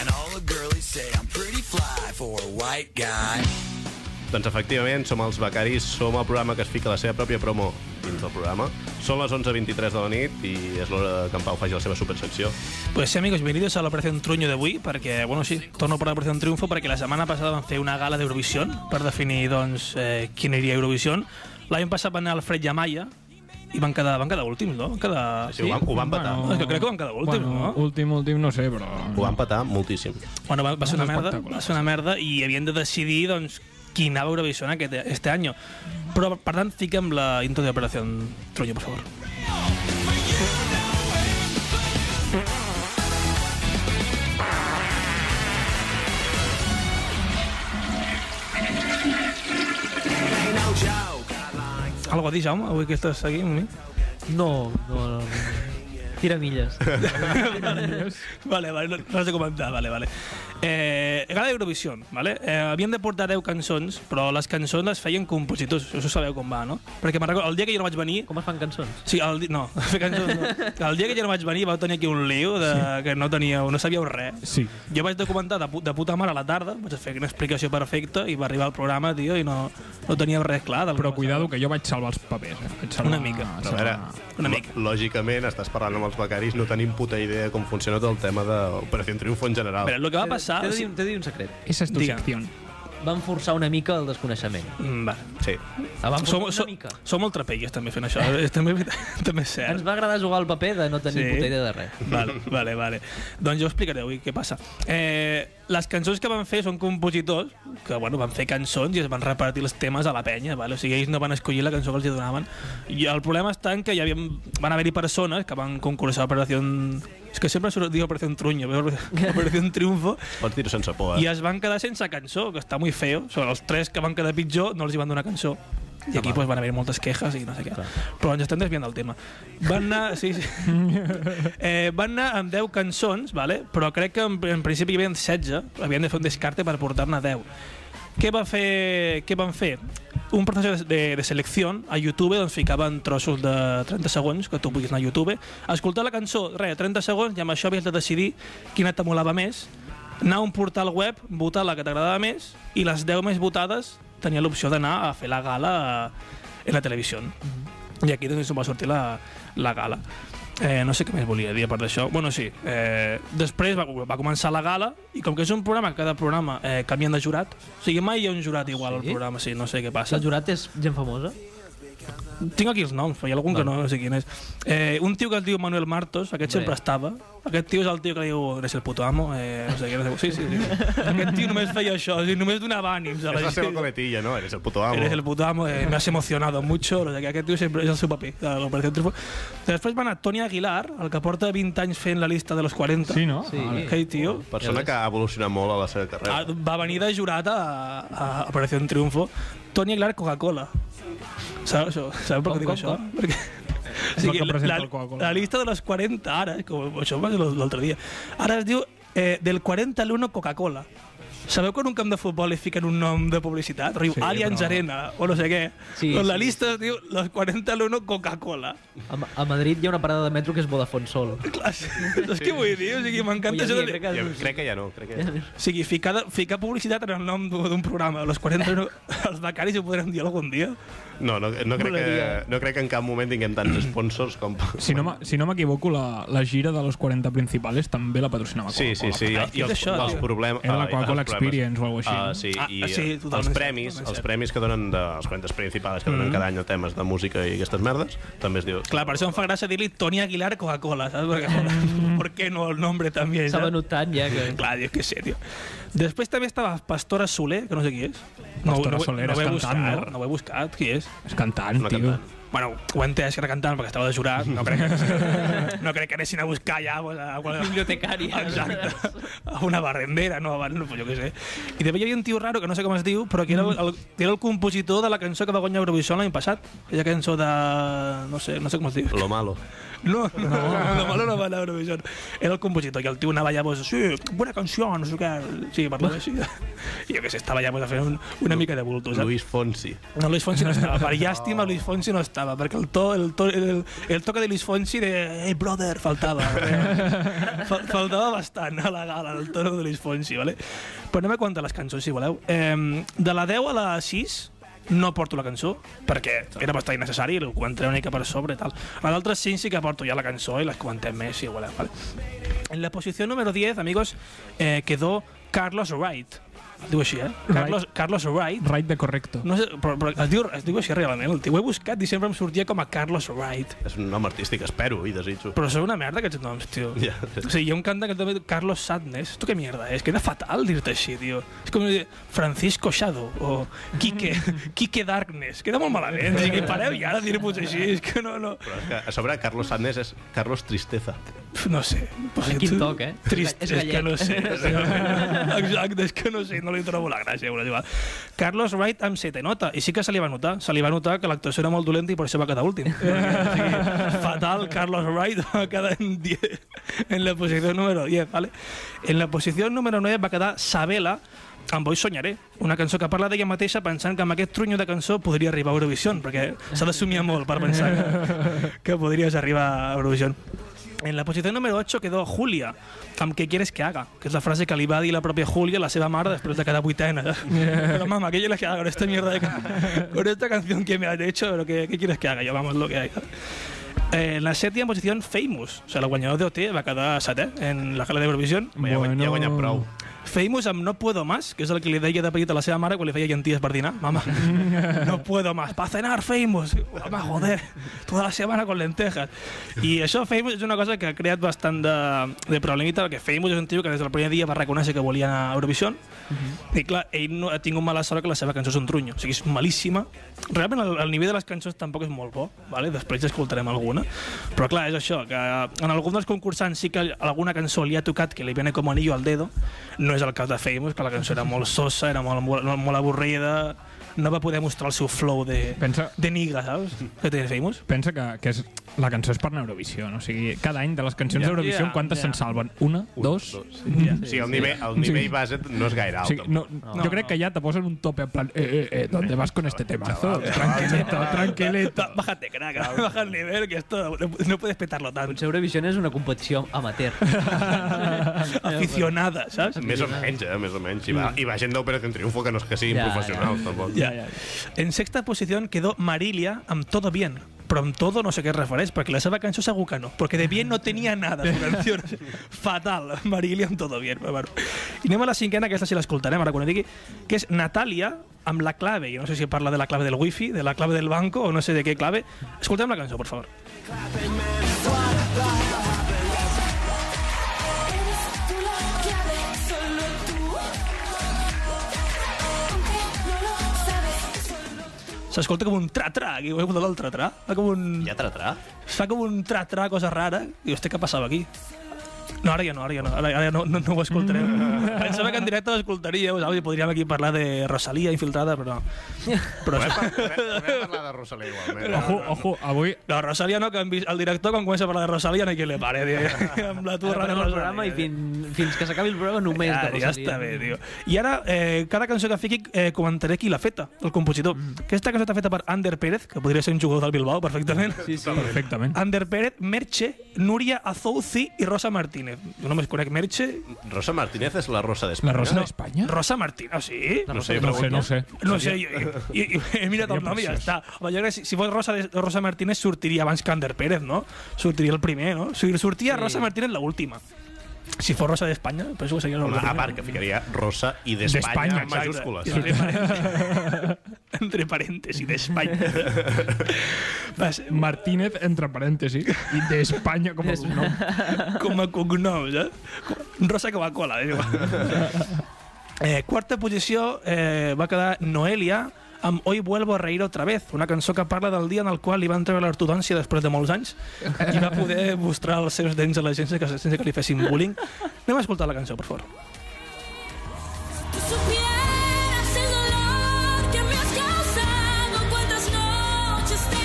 E: And all the girlies say I'm pretty fly for a white guy.
A: Doncs efectivament, som els becaris, som el programa que es fica la seva pròpia promo dins del programa. Són les 11.23 de la nit i és l'hora que en Pau faci la seva supersecció.
C: Pues sí, amigos, bienvenidos a la Operación Truño de avui, perquè, bueno, sí, torno per la Operación Triunfo, perquè la setmana passada van fer una gala d'Eurovision per definir, doncs, eh, qui aniria a Eurovision. L'any passat van anar el Fred i Amaya i van quedar, van quedar últims, no? Van quedar...
A: Sí, ho, van, ho van petar.
C: No, és que crec que van quedar últims,
D: bueno,
C: no?
D: Últim, últim, no sé, però...
A: Ho van petar moltíssim.
C: Bueno, va, va ser una
D: Un
C: merda,
D: espectacle.
C: va ser una merda i havien de decidir, doncs, qui anava a Eurovision aquest, este any. Però, per tant, fiquem la intro de Operació Truño, per favor. Algo a dir, Jaume, avui que estàs aquí amb mi?
B: No, no, no. Tira milles.
C: vale, vale, no, no has de comentar, vale, vale. Eh, gala d'Eurovision, vale? Eh, havien de portar 10 cançons, però les cançons les feien compositors, us ho sabeu com va, no? Perquè me'n recordo, el dia que jo no vaig venir...
B: Com es fan cançons?
C: Sí, el, di- no, fer cançons no. El dia que jo no vaig venir vau tenir aquí un lío de, sí. que no teníeu, no sabíeu res.
D: Sí.
C: Jo vaig documentar de, pu de puta mare a la tarda, vaig fer una explicació perfecta i va arribar al programa, tio, i no, no teníem res clar. Del
D: Però
C: que
D: cuidado que jo vaig salvar els papers. Eh? Vaig salvar,
C: Una mica.
A: Però a veure,
C: Una mica.
A: lò- lògicament, estàs parlant amb els becaris, no tenim puta idea com funciona tot el tema d'Operació Triunfo en
C: passava.
A: general.
C: Però el que va passar...
B: T'he de,
C: o
B: dir-
C: sigui-
B: t'he de dir un secret.
D: Esa es tu
C: Digue.
D: secció.
B: Van forçar una mica el desconeixement.
C: Mm, va.
A: Sí.
B: Ah, van forçar
C: Som,
B: una
C: som,
B: mica.
C: som molt trapelles també fent això, és també, és veritat, també és cert.
B: Ens va agradar jugar al paper de no tenir
C: Sí.
B: sí. puta idea de res.
C: Vale, vale, vale. Doncs jo explicaré avui què passa. Eh, les cançons que van fer són compositors, que bueno, van fer cançons i es van repartir els temes a la penya, vale? o sigui, ells no van escollir la cançó que els hi donaven. I el problema està en que hi havia, van haver-hi persones que van concursar a Operació... És que sempre surt dir Operació Truño, però Operació Triunfo,
A: Pots dir-ho sense por,
C: i
A: eh?
C: es van quedar sense cançó, que està molt feo. Sobre els tres que van quedar pitjor, no els hi van donar cançó. i aquí pues, van haver moltes quejes i no sé què. Però ens estem desviant del tema. Van anar, sí, sí. eh, van anar amb 10 cançons, vale? però crec que en, en principi hi havia 16, havien de fer un descarte per portar-ne 10. Què, va fer, què van fer? Un procés de, de selecció a YouTube, doncs ficaven trossos de 30 segons, que tu puguis anar a YouTube, escoltar la cançó, res, 30 segons, i amb això havies de decidir quina t'emolava més, anar a un portal web, votar la que t'agradava més, i les 10 més votades tenia l'opció d'anar a fer la gala a, en la televisió. I aquí doncs va sortir la, la gala. Eh, no sé què més volia dir a part d'això. Bueno, sí, eh, després va, va començar la gala i com que és un programa, cada programa eh, canvien de jurat, o sigui, mai hi ha un jurat igual
B: Sí?
C: al programa, sí, no sé què passa.
B: El jurat és gent famosa?
C: Tinc aquí els noms, però hi ha algun que no, no sé quin és. Eh, un tio que es diu Manuel Martos, aquest
B: Hombre.
C: sempre estava. Aquest tio és el tio que li diu, eres el puto amo, eh, no sé què, no sé què. Sí, sí, sí. Aquest tio només feia això, o sigui, només donava ànims a la
A: És la seva
C: gent.
A: coletilla, no? Eres el puto amo.
C: Eres el puto amo, eh, me has emocionado mucho. O sea, que aquest tio sempre és el seu paper, de l'Operació Triunfo. Després va anar Toni Aguilar, el que porta 20 anys fent la llista de los 40.
D: Sí, no?
B: Sí.
D: Vale.
C: Aquell tio
A: Persona que ha evolucionat molt a la seva
C: ah,
A: carrera.
C: va venir de jurat a, a Operació Triunfo. Toni Aguilar, Coca-Cola. Sabeu això? Sabeu per
B: Com,
C: què dic
B: com,
C: això?
B: com?
C: Perquè...
D: És el que presenta el Coca-Cola.
C: la llista de los 40 ara, com això va ser l'altre dia, ara es diu eh, del 40 al 1 Coca-Cola. Sabeu quan un camp de futbol li fiquen un nom de publicitat? Riu
D: Sí,
C: sí, Allianz
D: però-
C: Arena o no sé què.
B: Sí,
C: Sí, doncs la
B: sí,
C: llista es diu los 40 al 1 Coca-Cola.
B: A, Ma- a Madrid hi ha una parada de metro que és Vodafone Sol.
C: Clar, sí. és que vull dir, o sigui,
B: Avui
C: m'encanta
B: en
C: això
B: dia
C: de...
A: Ja,
B: crec que...
A: crec que ja no, crec que ja no.
C: O sigui, ficar, de- ficar publicitat en el nom d'un d'un programa, los 40 no, els becaris ho podrem dir algun dia.
A: No, no, no, crec que, no crec que en cap moment tinguem tants sponsors com...
D: Si no, me- si no m'equivoco, la, la gira de los 40 principales també la patrocinava
A: Sí, sí, sí. I,
C: Ah,
A: i
C: és
A: els,
C: això,
A: els
C: tio.
A: problemes...
D: Era la
A: ah, i
D: Coca-Cola
A: els problemes.
D: Experience o alguna cosa així,
A: Ah, sí,
C: no?
A: i
C: Ah, sí,
A: eh, els
C: totalment
A: premis,
C: cert, totalment
A: els
C: cert.
A: premis que donen dels 40 principals que donen cada any a temes de música i aquestes merdes, també es diu...
C: Clar, per això em fa gràcia dir-li Toni Aguilar Coca-Cola, saps? Perquè, ¿por qué no el nombre també?
B: S'ha
C: saps?
B: venut tant ja que...
C: Clar, jo què sé, tio. Després també estava Pastora Soler, que no sé qui és. No,
D: Pastora
C: no, ho-
D: Soler
C: no ho
D: és
C: he
D: cantant,
C: buscat,
D: no?
C: no? ho he buscat, qui és.
D: És cantant,
A: Una
D: tio.
A: cantant.
C: Bueno, ho he entès que era cantant perquè estava de jurat, no crec que, no crec que anessin a buscar ja pues, a, a,
B: Bibliotecària.
C: Exacte. A una barrendera, no, abans, no, jo què sé. I també hi havia un tio raro, que no sé com es diu, però que era el, el, que era el compositor de la cançó que va guanyar Eurovisió l'any passat. Aquella cançó de... no sé, no sé com es diu.
A: Lo malo.
C: No, no, no, no, no va anar a Eurovision. Era el compositor, que el tio anava llavors, sí, bona canció, no sé què... Sí, va parlar així. I jo què sé, estava llavors a fer un, una mica de bulto, saps?
A: Luis Fonsi.
C: No, Luis Fonsi no estava. Per llàstima, Luis Fonsi no estava, perquè el to, el to, el, el toque de Luis Fonsi de Hey brother faltava. Fal, faltava bastant a la gala, el tono de Luis Fonsi, vale? Però anem a contar les cançons, si voleu. Eh, de la 10 a la 6 no porto la cançó, perquè era bastant innecessari, ho comentaré una mica per sobre i tal. A d'altres 5 sí que porto ja la cançó i les comentem més, si voleu, vale? En la posició número 10, amigos, eh, quedó Carlos Wright. Diu així, eh? Carlos, Carlos Wright,
D: Right de correcto.
C: no sé, però, però es, diu, es diu així realment, el tio. Ho he buscat i sempre em sortia com a Carlos Wright.
A: És un nom artístic, espero i desitjo.
C: Però són una merda aquests noms, tio.
A: Ja.
C: O sigui, hi ha un cantant que també diu Carlos Sadness. Tu què mierda és? Queda fatal dir-te així, tio. És com dir Francisco Shadow o Quique, Quique Darkness. Queda molt malament. O sigui, pareu ja de dir-vos així. És que no, no.
A: Però és que a sobre Carlos Sandés és Carlos Tristeza.
C: No sé. O sigui,
B: quin
C: tu-
B: toc, eh?
C: Trist,
B: És
C: és,
B: gallec.
C: que no sé. Exacte, és que no sé, no li trobo la gràcia. Bueno, és igual. Carlos Wright amb sete nota, i sí que se li va notar. Se li va notar que l'actuació era molt dolenta i per això va quedar últim. Perquè, o sigui, fatal, Carlos Wright va quedar en, 10, en la posició número 10. ¿vale? En la posició número 9 va quedar Sabela, amb Hoy Soñaré, una cançó que parla d'ella mateixa pensant que amb aquest trunyo de cançó podria arribar a Eurovisió, perquè s'ha de somiar molt per pensar que, que podries arribar a Eurovisió. En la posició número 8 quedó Julia, amb què quieres que haga, que és la frase que li va dir la pròpia Julia a la seva mare després de quedar vuitena. Però mama, ¿qué quieres que haga con esta mierda de can con esta canción que me has hecho? Pero ¿qué, qué quieres que haga? Yo, vamos, lo que hay. Eh, en la sèptima posició, Famous. O sigui, la guanyadora d'OT va quedar setè en la gala d'Eurovision.
A: Bueno. Ja, guany- ja guanyat prou.
C: Famous amb No puedo más, que és el que li deia de petit a la seva mare quan li feia llenties per dinar. Mama, no puedo más. Pa cenar, Famous. Mama, joder. Toda la setmana con lentejas. I això, Famous, és una cosa que ha creat bastant de, de problemita, perquè Famous és un tio que des del primer dia va reconèixer que volia anar a Eurovision. I clar, ell no ha tingut mala sort que la seva cançó és un trunyo. O sigui, és malíssima. Realment, el, el nivell de les cançons tampoc és molt bo. Vale? Després escoltarem alguna. Però clar, és això, que en algun dels concursants sí que alguna cançó li ha tocat que li viene com anillo al dedo, no és el cas de Famous, que la cançó era molt sosa, era molt, molt, molt avorrida, no va poder mostrar el seu flow de,
D: Pensa-
C: de niga, saps? Que té Famous.
D: Pensa que, que és, la cançó és per anar a Eurovisió, no? O sigui, cada any de les cançons
C: Ja.
D: d'Eurovisió,
C: Ja,
D: quantes
C: ja.
D: se'n salven? Una? dos?
C: Ja.
A: Sí, el nivell, el nivell base no és gaire
D: O
A: alt.
D: sigui,
A: tampoc.
D: no, jo crec que ja te posen un tope en plan eh, eh, eh, ¿dónde vas con este temazo? Tranquilito, tranquilito.
C: Ba- Eh, Bájate, crack, baja el nivel, que esto no, no puedes petarlo tanto.
B: Potser Eurovision és una competició amateur.
C: Aficionada, saps?
A: Més o menys, eh? Més o menys. I va, i va gent d'Operación Triunfo, que no és que siguin
B: Ja,
A: professionals, tampoc.
C: Ja, ja. En sexta posició quedó Marilia amb Todo Bien, però amb Todo no sé què es refereix, perquè la seva cançó segur que no, perquè de bien no tenia nada, su canció. Fatal, Marilia amb Todo Bien. Però, bueno. I anem a la cinquena, aquesta sí l'escoltarem ara quan ho digui, que és Natàlia amb la clave, jo no sé si parla de la clave del wifi, de la clave del banco o no sé de què clave. Escoltem la cançó, per favor.
F: Eres tú la clave, solo tú. Aunque no lo sabes, solo
C: S'escolta com un tra-tra, aquí ho he escoltat el tra-tra, fa com un...
A: Hi ha tratrà?
C: Es fa com un tra-tra, cosa rara. I hosti, què passava aquí? No, ara ja no, ara ja no, ara, ara ja no, no, no ho escoltarem. Pensava que en directe l'escoltaríeu, saps? I podríem aquí parlar de Rosalia infiltrada, però no. Però
A: Podem,
C: això...
A: par- podem, podem parlar de Rosalía igualment. eh?
D: Ojo, ojo, avui
C: No, Rosalia no, que en vi- el director quan comença a parlar de Rosalia no hi ha qui li pare, tio. amb la turra
B: Parlem
C: de
B: el
C: Rosalia.
B: programa i
C: tio.
B: fins, fins que s'acabi el programa només
C: Ja,
B: de
C: ja
B: Rosalía.
C: està bé, tio. I ara, eh, cada cançó que fiqui, eh, comentaré qui l'ha feta, el compositor.
B: Mm.
C: Aquesta cançó està feta per Ander Pérez, que podria ser un jugador del Bilbao, perfectament.
B: Sí, sí.
D: perfectament.
C: Ander Pérez, Merche, Núria Azouzi i Rosa Martínez. Jo només conec Merche,
A: Rosa Martínez és la Rosa
D: La
A: d'Espanya.
D: Rosa d'Espanya?
C: Rosa Martínez, o sí?
A: No sé,
D: No sé, no sé.
C: No sé, jo, i, i, he mirat el
D: Seria
C: nom i ja
D: preciós.
C: està. Home, jo crec que si, si fos Rosa, de- Rosa Martínez sortiria abans que Ander Pérez, no? Sortiria el primer, no? Si sortia sí. Rosa Martínez l'última. Si fos Rosa d'Espanya, penso que seria
A: Home,
C: l'última.
A: a part que ficaria Rosa i
D: D'Espanya,
A: d'Espanya en
D: exacte.
A: majúscules.
C: Entre parèntesis. Entre parèntesis, d'Espanya. Va ser
D: Martínez, entre parèntesis, i d'Espanya com a nom.
C: com a cognoms, eh? Com- Rosa Coca-Cola, eh? eh? Quarta posició eh, va quedar Noelia amb Hoy vuelvo a reír otra vez, una cançó que parla del dia en el qual li van treure l'ortodòncia després de molts anys i va poder mostrar els seus dents a la gent sense que, sense que li fessin bullying. Anem a escoltar la cançó, per favor.
F: tú supieras el dolor que me has causado. Cuántas noches te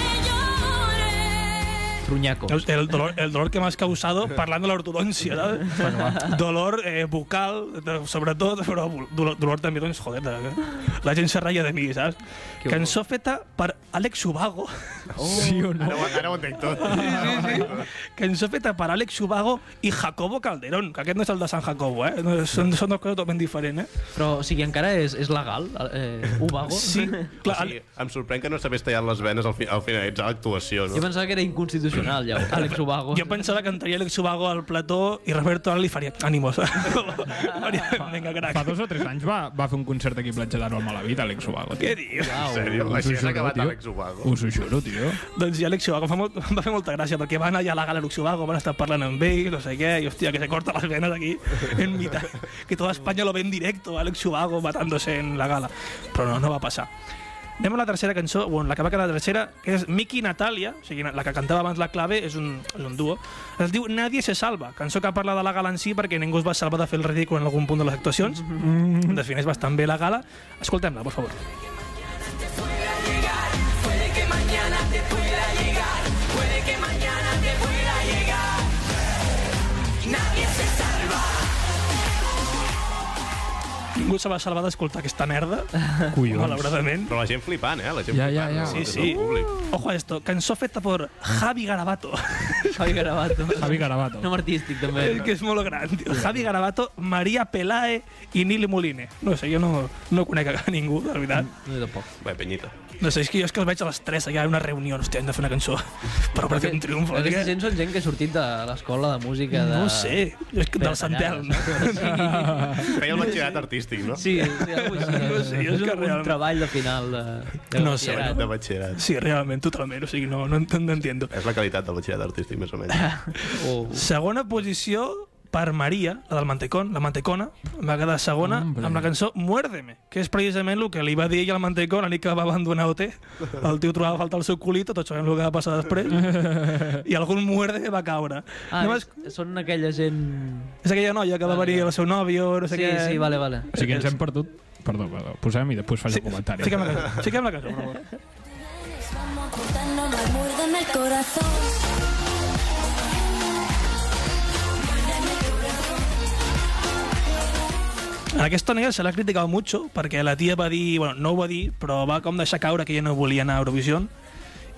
F: lloré.
B: Trunyaco.
C: El, el, dolor, el dolor que m'has causado parlant de l'ortodòncia, saps? dolor eh, bucal, de- sobretot, però bu- dolor, dolor també, doncs, joder, de, la gent se ratlla de mi, saps?
B: Que
C: Cançó feta per Àlex Ubago,
D: Sí o no?
A: Ara, ho, ara ho entenc tot.
C: cançó feta per Àlex Ubago i Jacobo Calderón, que aquest no és el de Sant Jacobo, eh? No, són, són dues coses totalment diferents, eh?
B: Però, o sigui, encara és, és legal? Eh, Ubago?
C: Sí,
A: O
C: clar,
A: sigui, em sorprèn que no s'hagués tallat les venes al, fi, al finalitzar l'actuació,
B: Jo
A: no?
B: pensava que era inconstitucional, ja, Àlex Ubago.
C: Jo pensava que entraria Alex Ubago al plató i Roberto Ali li faria ànimos. faria, venga, crac.
D: Fa dos o tres anys va, va fer un concert aquí a Platja d'Aro al Malavit, Àlex Ubago.
C: Què dius?
A: En sèrio, la
D: us ho
A: gent ha
D: juro,
A: acabat
D: tio.
A: Àlex Ubago.
D: Us ho juro, tio.
C: Doncs i Alex Ubago em fa molt, em va fer molta gràcia perquè van allà a la gala Ubago, van estar parlant amb ell, no sé què, i hòstia, que se corta les venes aquí en mitad. Que toda España lo ve en directo, Alex Ubago matándose en la gala. Però no, no va passar. Anem a la tercera cançó, bueno, la que va quedar tercera, que és Miki i Natàlia, o sigui, la que cantava abans la clave, és un, és un duo. Es diu Nadie se salva, cançó que parla de la gala en si perquè ningú es va salvar de fer el ridícul en algun punt de les actuacions. Defineix bastant bé la gala. Escoltem-la, per favor. Ningú se va salvar d'escoltar aquesta merda,
D: Collons.
C: malauradament.
A: Però la gent flipant, eh? La gent
D: Ja, ja,
A: flipant.
D: ja.
A: no?
C: Sí,
A: Des del
C: sí.
A: Públic.
C: Ojo a esto, cançó feta per Javi Garabato.
B: Javi Garabato.
D: Javi Garabato.
B: Nom artístic,
C: És
B: també.
C: que és molt gran, tio. Javi Garabato, Maria Pelae i Nili Moline. No sé, jo no, no conec a ningú, de veritat.
B: No, jo tampoc.
A: Bé, penyita.
C: No sé, és que jo és que els veig a les 3 allà en una reunió. Hòstia, hem de fer una cançó. Però per fer un triomf.
B: Aquesta
C: perquè-
B: gent són gent que ha sortit de l'escola de música de...
C: No ho sé, jo és que del
B: de
C: Sant Telm.
A: Feia el batxillerat artístic, no?
B: Sí, sí, algo així.
C: No sé, jo és
B: un,
C: que
B: un
C: realment-
B: treball de final de, de
C: No sé,
B: batxillerat.
A: De batxillerat.
C: Sí, realment, totalment. O sigui, no, no, ent- no entiendo.
A: És la qualitat del batxillerat artístic, més o menys.
B: O-
C: Segona posició per Maria, la del Mantecón, la Mantecona, va quedar segona
D: Hombre.
C: amb la cançó Muérdeme, que és precisament el que li va dir ell al Mantecón la nit que va abandonar OT. El tio trobava a faltar el seu culito, tots sabem el que va passar després, i algun muérdeme va caure.
B: Ah,
C: No, és,
B: és, són aquella gent...
C: és aquella noia que va venir el seu nòvio, no sé
B: Sí,
C: què...
B: sí, vale, vale.
D: O sigui, ens hem perdut. Perdó, perdó. Posem i després faig
C: Sí,
D: el comentari.
C: fiquem la cançó, fiquem la cançó, per favor.
F: Vamos a cortarnos la muerda en el corazón.
C: En aquesta negra se l'ha criticat mucho perquè la tia va dir, bueno, no ho va dir, però va com deixar caure que ella no volia anar a Eurovision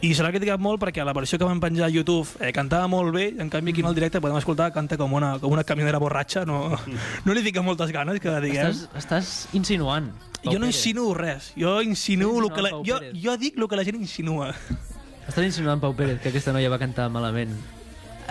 C: i se l'ha criticat molt perquè la versió que van penjar a YouTube eh, cantava molt bé, en canvi aquí en el directe podem escoltar que canta com una, com una camionera borratxa, no, no li fica moltes ganes que diguem.
B: Estàs, estàs insinuant. Pau
C: Jo no
B: Pérez.
C: insinuo res, jo insinuo
B: Insinuar
C: lo que la,
B: Pau
C: jo,
B: Pérez.
C: jo dic el que la gent insinua.
B: Estàs insinuant, Pau Pérez, que aquesta noia va cantar malament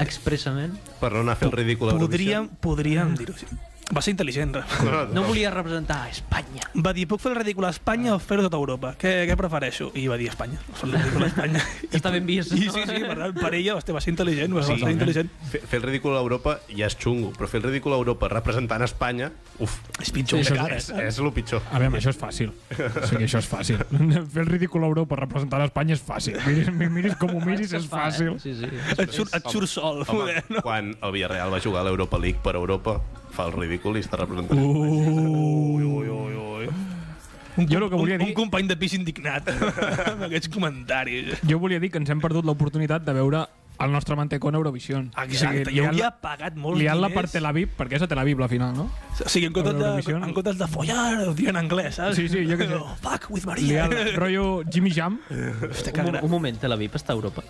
B: expressament?
A: Per no anar a fer el ridícul a
C: Podríem, podríem dir-ho així. Va ser intel·ligent.
A: Eurovisió.
B: No volia representar a Espanya.
C: Va dir, puc fer el ridícul a Espanya o fer-ho a tota Europa? Què, què prefereixo? I va dir Espanya. Fer el ridícul a Espanya.
B: Que està ben vist,
C: I
B: no?
C: sí, sí, per, tant, per ella, hòstia, va ser intel·ligent, va
A: Sí.
C: ser bastant intel·ligent.
A: Fer, fer el ridícul a Europa ja és xungo, però fer el ridícul a Europa representant Espanya, uf,
C: És pitjor.
D: Sí,
C: Sí,
D: sí.
C: encara,
A: és,
C: eh?
A: és el pitjor.
D: A veure, això és fàcil. O sigui, això és fàcil. Fer el ridícul a Europa representant Espanya és fàcil. Miris, miris com ho miris, és
B: Fa, eh?
D: fàcil.
B: Sí, sí.
C: Et surt, et surt sol.
A: Home,
C: poder, no?
A: quan el Villarreal va jugar a l'Europa League per Europa, fa el ridícul i està representant.
C: Uh. Ui, ui, ui, ui. Un,
D: Jo el que
C: un-
D: volia
C: un,
D: dir-
C: company de pis indignat amb aquests comentaris.
D: Jo volia dir que ens hem perdut l'oportunitat de veure el nostre Mantecón a Eurovision.
C: Exacte,
D: O sigui,
C: jo
D: liant-
C: hauria pagat molts
D: Liant-la per
C: diners.
D: Tel Aviv, perquè és a Tel Aviv la final, no?
C: O sigui, en comptes, de,
D: Eurovision.
C: en comptes de follar, ho dirien en anglès, saps?
D: Sí, sí, jo què sé.
C: Oh, fuck with Maria.
D: Liant, rotllo Jimmy Jam.
C: Eh. Hòstia, que
B: Un,
C: gran.
B: un moment, Tel Aviv està a Europa.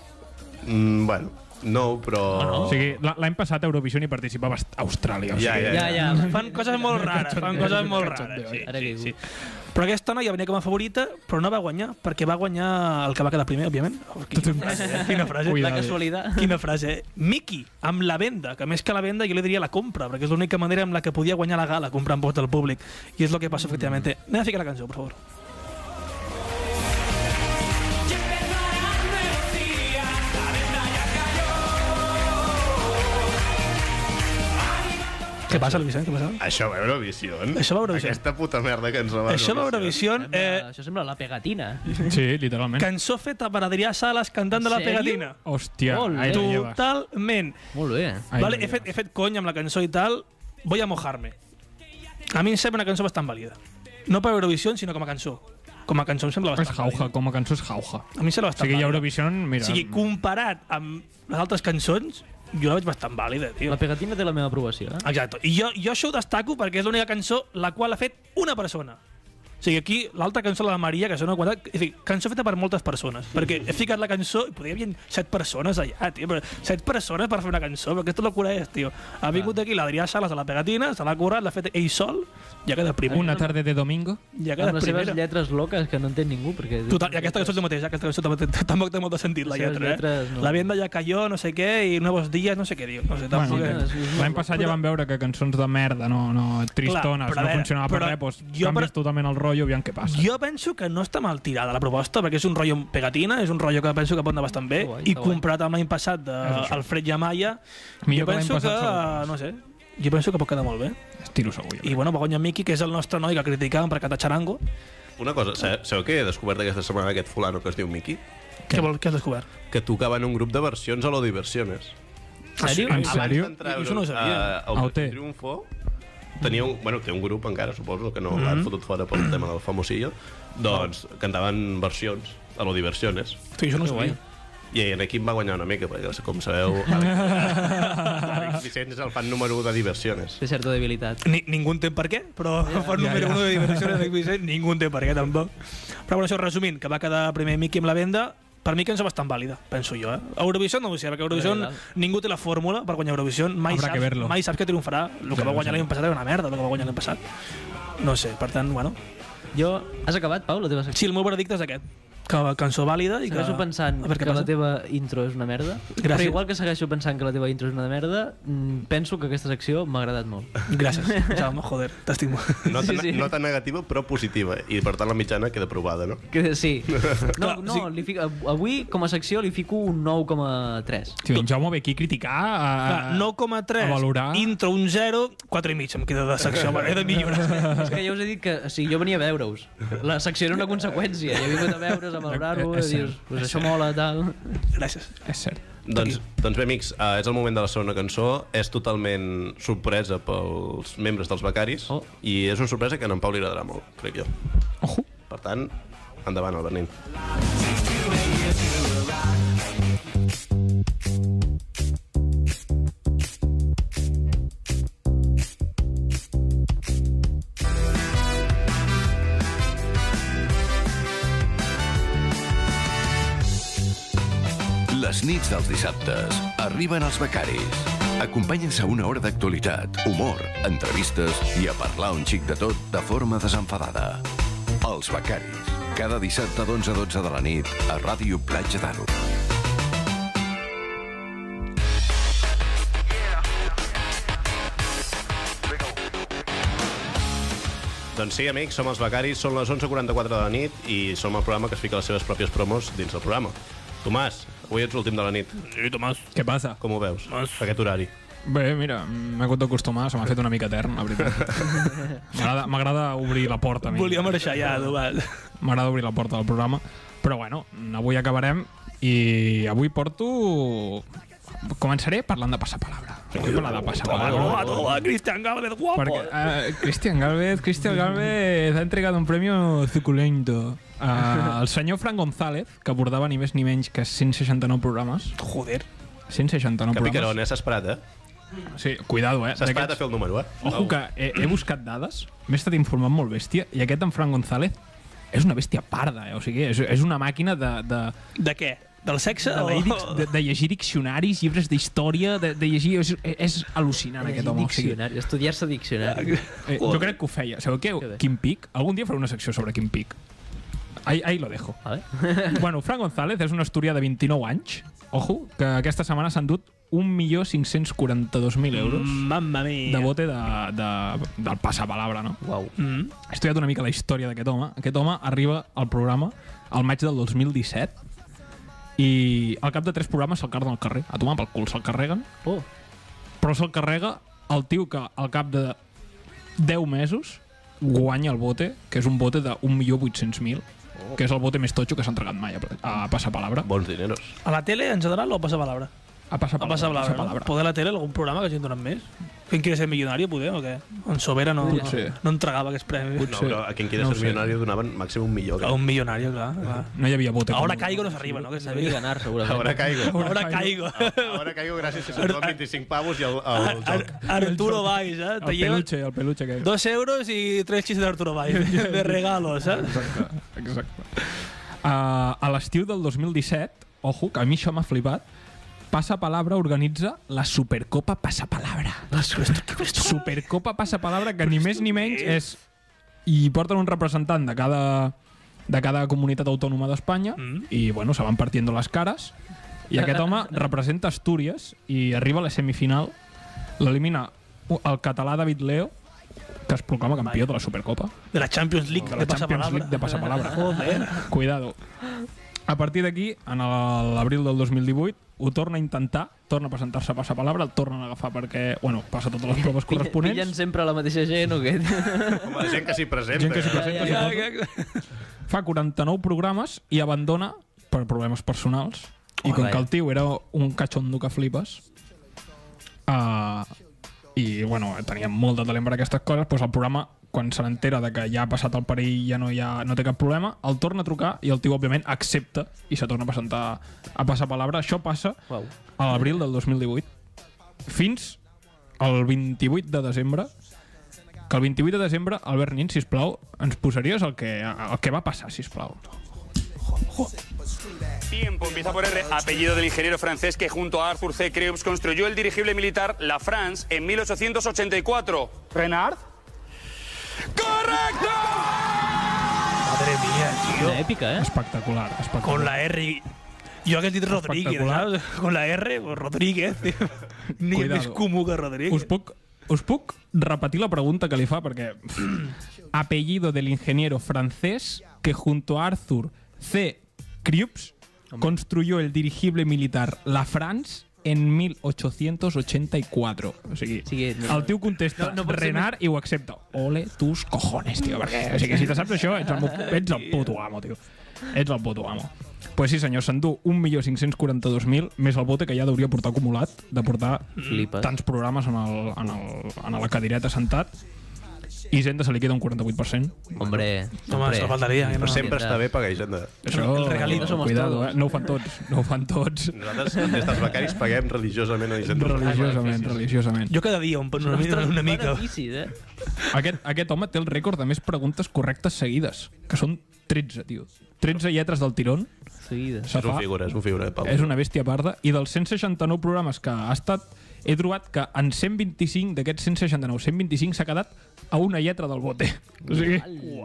A: Mm, bueno, no, però...
C: Oh.
D: O sigui, la- l'any passat a Eurovision hi participava Aust- Austràlia. O sigui,
A: Ja, ja,
B: Ja,
A: ja.
B: ja.
C: Fan coses molt rares, fan coses molt rares. Sí,
B: Ara
C: sí,
B: caigut.
C: sí. Però aquesta noia venia com a favorita, però no va guanyar, perquè va guanyar el que va quedar primer, òbviament. Oh, quina frase, eh? quina frase.
D: Cuidado.
B: La casualitat.
C: Quina frase, eh? Miki, amb la venda, que més que la venda jo li diria la compra, perquè és l'única manera amb la que podia guanyar la gala, comprant vots del públic. I és el que passa, efectivament. Anem a ficar la cançó, per favor. Què passa, Luis, eh? Què passa?
A: Això va a Eurovisió. eh?
C: Això va a Eurovisió.
A: Aquesta puta merda que ens la va
C: Això va a Eurovisió,
B: Sembla,
C: eh,
B: Això sembla la pegatina.
D: Sí, literalment.
C: cançó feta per Adrià Sales cantant de la
B: En sèrio?
C: pegatina.
D: Hòstia, eh,
B: Ole.
D: ai, la lleva.
C: Totalment.
B: Molt bé.
D: Ai,
C: vale,
D: la
C: he,
D: lleva.
C: fet, he fet conya amb la cançó i tal. Voy a mojarme. A mi em sembla una cançó bastant vàlida. No per Eurovisió, sinó com a cançó. Com a cançó em sembla
D: És
C: bastant
D: jauja, com a cançó és jauja.
C: vàlida. A mi em sembla
D: O
C: bastant
D: sigui, hi ha
C: vàlida.
D: Eurovision, mira...
C: O sigui, comparat amb les altres cançons, jo la veig bastant vàlida, tio.
B: La pegatina té la meva aprovació. Eh?
C: Exacte. I jo, jo això ho destaco perquè és l'única cançó la qual ha fet una persona. O sigui, aquí l'altra cançó, la de Maria, que això no ho he contat, és a dir, cançó feta per moltes persones. Perquè he ficat la cançó i podria haver set persones allà, tio. Però set persones per fer una cançó, però aquesta locura és, tio. Ha vingut aquí l'Adrià Sales a la pegatina, se l'ha currat, l'ha fet ell sol, ja queda primer.
D: Una tarda de domingo.
C: ja
B: Amb
C: queda
B: les seves
C: primera.
B: lletres loques que no entén ningú. Perquè...
C: Total, i aquesta cançó és el mateix, aquesta cançó tampoc, té- tampoc té molt de sentit, la
B: Les seves
C: lletra, eh?
B: lletres, no.
C: La venda ja cayó, no sé què, i nuevos días, no sé què diu. No sé, tampoc...
D: Bueno,
B: és- és
D: L'any passat ja vam veure que cançons de merda, no, no, tristones,
C: però a
D: no
C: veure,
D: funcionava per
C: però
D: res, doncs
C: jo
D: canvies
C: per-
D: totalment el rotllo, aviam què passa.
C: Jo penso que no està mal tirada la proposta, perquè és un rotllo amb pegatina, és un rotllo que penso que pot anar bastant bé,
B: Guai,
C: i
B: guai.
C: comprat amb l'any passat d'Alfred Yamaya,
D: Millor
C: jo
D: que l'any
C: penso que,
D: passat, segur.
C: no sé, jo penso que pot quedar molt bé.
D: Estiro segur, jo.
C: I bueno, va guanyar Miki, que és el nostre noi que criticàvem per cantar xarango.
A: Una cosa, sa- sabeu què he descobert aquesta setmana aquest fulano que es diu Miki?
C: Què, vol, què has descobert?
A: Que tocava en un grup de versions a lo Diversiones.
B: En sèrio?
D: En sèrio?
A: Abans d'entrar a
C: Jo això no ho
A: Euro-
C: sabia.
A: a-
D: Ah,
A: a
D: ho té.
A: Operació Triunfo, tenia un, bueno, té un grup encara, suposo, que no
C: Mm-hmm.
A: l'han fotut fora pel tema del famosillo, doncs cantaven versions a lo Diversiones.
C: Tu, jo no ho sabia.
A: I en aquí em va guanyar una mica, perquè com sabeu, Àlex, Àlex Vicenç és el fan número 1 de Diversiones.
B: Té certa debilitat.
C: Ni, ningú entén per què, però yeah, per número yeah. 1 de diversió de Vicent, ningú entén per què tampoc. Però bueno, això resumint, que va quedar primer Miki amb la venda, per mi que ens bastant vàlida, penso jo. Eh? Eurovisió no ho sé, perquè Eurovisió
B: Vale,
C: ningú té la fórmula per guanyar Eurovisió, mai,
D: Habrà que
C: saps,
D: verlo.
C: mai saps que triomfarà. El que va guanyar l'any passat era una merda, el que va guanyar l'any passat. No sé, per tant, bueno.
B: Jo... Has acabat, Pau, la teva secció?
C: Sí, el meu veredicte és aquest. Que cançó vàlida i que...
B: Segueixo pensant
C: a veure
B: que
C: què
B: la
C: passa.
B: teva intro és una merda,
C: Gràcies.
B: però igual que segueixo pensant que la teva intro és una merda, mm, penso que aquesta secció m'ha agradat molt.
C: Gràcies, Jaume, joder, t'estimo.
A: Nota,
B: Sí, sí.
A: nota negativa, però positiva. I, per tant, la mitjana queda aprovada, no?
B: Que sí. No,
C: Clar,
B: no,
C: sí.
B: li fico, avui com a secció li fico un 9,3.
D: Tio, en Jaume ve aquí a criticar... A,
C: Clar,
D: Ah, A
C: 9,3,
D: valorar.
C: intro un 0, 4 i mig em queda de secció, he de millorar.
B: És que ja us he dit que o sigui, jo venia a veure-us. La secció era una conseqüència. Jo he vingut a veure's, a valorar-ho,
D: És
B: i dius,
D: cert,
B: pues això mola, tal.
C: Gràcies.
D: És cert.
A: Doncs, doncs bé, amics, uh, és el moment de la segona cançó. És totalment sorpresa pels membres dels Becaris
B: Oh.
A: i és una sorpresa que a en Pau li agradarà molt, crec jo.
D: Ojo.
A: Per tant, endavant, el Bernin.
G: Les nits dels dissabtes arriben els becaris. Acompanyen-se a una hora d'actualitat, humor, entrevistes i a parlar un xic de tot de forma desenfadada. Els becaris. Cada dissabte d'11 a 12 de la nit a Ràdio Platja d'Aro.
A: Doncs sí, amics, som els Becaris, són les 11.44 de la nit i som el programa que es fica les seves pròpies promos dins del programa. Tomàs, avui ets l'últim de la nit.
C: Sí, Tomàs.
D: Què passa?
A: Com ho veus,
C: Tomàs.
A: aquest horari?
D: Bé, mira, m'he hagut d'acostumar, se m'ha fet una mica etern, la veritat. M'agrada- M'agrada obrir la porta a mi.
C: Volia marxar ja, Tomàs.
D: M'agrada obrir la porta del programa. Però bueno, avui acabarem i avui porto... Començaré parlant de passapalabra. Vull parlar de
C: Toma,
D: passapalabra.
C: toma, Cristian Gámez, guapo.
D: Perquè uh, Cristian Galvez, Cristian Galvez ha entregat un premi suculento uh, al senyor Fran González, que abordava ni més ni menys que 169 programes.
C: Joder.
D: 169
A: Que picarón,
D: programes.
A: eh? S'ha esperat, eh?
D: Sí, cuidado, eh?
A: S'ha esperat a
D: D'aquests-
A: fer el número, eh?
D: Ojo que he, he buscat dades, m'he estat informant molt bèstia, i aquest en Fran González és una bèstia parda, eh? o sigui, és, és una màquina de, de,
C: De què? Del sexe?
D: de,
C: o-
D: lady, de, de llegir diccionaris, llibres d'història, de, de llegir... És, és al·lucinant, aquest home. O sigui,
B: Diccionari, estudiar-se diccionari.
D: eh, jo crec que ho feia. Sabeu què?
B: bé.
D: Quim Pic? Algun dia faré una secció sobre Quim Pic. Ahí, ahí lo dejo.
B: A ver.
D: Bueno, Fran González és una asturià de 29 anys, ojo, que aquesta setmana s'han dut 1.542.000 euros
C: Mamma mia.
D: de bote de, de, del passapalabra, no? Mm-hmm.
B: Uau.
C: Mm.
D: he estudiat una mica la història d'aquest home. Aquest home arriba al programa al maig del 2017 i al cap de tres programes se'l carden al carrer. A tomar pel cul se'l carreguen,
B: Oh,
D: però se'l carrega el tio que al cap de 10 mesos guanya el bote, que és un bote de 1.800.000, que és el bote més totxo que s'ha entregat mai a, a Passapalabra.
A: Bons dineros.
C: A la tele ens ha donat o passa palabra?
D: A Passapalabra.
C: A passa palabra, no? Poder a la tele algun programa que hagin donat més? Quin quiere ser milionari, poder, o què? En Sobera no, no,
D: Potser.
C: no entregava aquests premis.
A: No,
D: Sí.
A: però a quien quiera
D: No ho
A: ser
D: sé.
A: milionari donaven màxim un millor.
C: A un milionari, clar. clar.
D: No hi havia bote.
C: Ahora
D: com-
C: caigo no s'arriba, no? Que
B: sabia
C: sabia.
B: ganar, segurament.
A: Ahora caigo.
C: Ahora caigo.
A: Ahora caigo gràcies a 25 pavos i el, el joc.
C: Ar- Arturo Valls, eh? Te
D: El
C: llevas
D: peluche, el peluche que...
C: dos euros y tres chistes de Arturo Valls, de regalos, eh?
D: Exacte, exacte. Uh, a l'estiu del 2017, ojo, que a mi això m'ha flipat, Passapalabra organitza la Supercopa Passapalabra. La Supercopa Passapalabra, que ni més ni menys és... I porten un representant de cada, de cada comunitat autònoma d'Espanya mm. i, bueno, se van partiendo les cares. I aquest home representa Astúries i arriba a la semifinal. L'elimina el català David Leo, que es proclama campió de la Supercopa
C: De la Champions League, de
D: de la Champions
C: pasapalabra.
D: League de passapalabra.
C: Joder.
D: Cuidado. A partir d'aquí, en el- l'abril del 2018, ho torna a intentar, torna a presentar-se a passapalabra, el tornen a agafar perquè, bueno, passa totes les proves
B: Pilla- Pillen
D: corresponents.
B: sempre la mateixa gent o què?
A: Home, gent que s'hi presenta.
D: Gent que s'hi
A: eh?
D: presenta,
B: Ja,
D: suposo. Fa 49 programes i abandona per problemes personals. I com
B: Olé.
D: que el tio era un catxondo que flipes, uh, i bueno, tenia molt de talent per aquestes coses, doncs el programa quan se n'entera de que ja ha passat el perill ja no, hi ha, no té cap problema, el torna a trucar i el tio òbviament accepta i se torna a presentar a passar palabra. Això passa
B: Uau.
D: a l'abril del 2018 fins al 28 de desembre que el 28 de desembre, Albert Nin, sisplau, ens posaries el que, el que va passar, sisplau.
H: Tiempo empieza por R, apellido del ingeniero francés que junto a Arthur C. Crews construyó el dirigible militar La France en 1884. ¿Renard? ¡Correcto!
C: Madre mía,
B: Una
C: tío.
B: èpica, eh?
D: Espectacular, espectacular.
C: Con la R... Yo que dit Rodríguez,
D: Espectacular.
C: ¿sabes? Con la R, pues Rodríguez. tío. Ni
D: Cuidado.
C: més comú que Rodríguez.
D: Us puc, us puc repetir la pregunta que li fa perquè apellido del ingeniero francés que junto a Arthur C. Kriups construyó el dirigible militar La France en 1884. O sigui,
B: sigui, no-
D: el tio contesta
B: no-
D: no,
B: no
D: no
B: pot ser
D: Renard i ho accepta. Ole tus cojones, tio, perquè o sigui, si te saps això, ets el, mo- ets el puto amo, tio. Ets el puto amo. pues sí, senyor, s'endú 1.542.000 més el bote que ja deuria portar acumulat de portar
B: Flipes.
D: Mm. tants programes en, el, en, el, en la cadireta sentat i Hisenda se li queda un 48%.
B: Hombre,
C: Home,
B: hombre.
C: això faltaria. Que no.
B: Però
A: Sempre està bé pagar Hisenda.
D: Això,
C: el regalito
B: somos
D: cuidado,
B: todos.
D: eh? No ho fan tots, no ho fan tots.
A: Nosaltres, des dels becaris, paguem religiosament a Hisenda.
D: Religiosament, religiosament.
C: Jo cada dia un, una, una, una mica.
B: Beneficis, eh?
D: Aquest, aquest home té el rècord de més preguntes correctes seguides, que són 13, tio. 13 lletres del tirón.
B: Seguida.
A: És
D: Se
A: un
D: fa-
A: figura, és un figura. Pau.
D: És una bèstia parda. I dels 169 programes que ha estat, he trobat que en 125 d'aquests 169, 125 s'ha quedat a una lletra del bote. O sigui,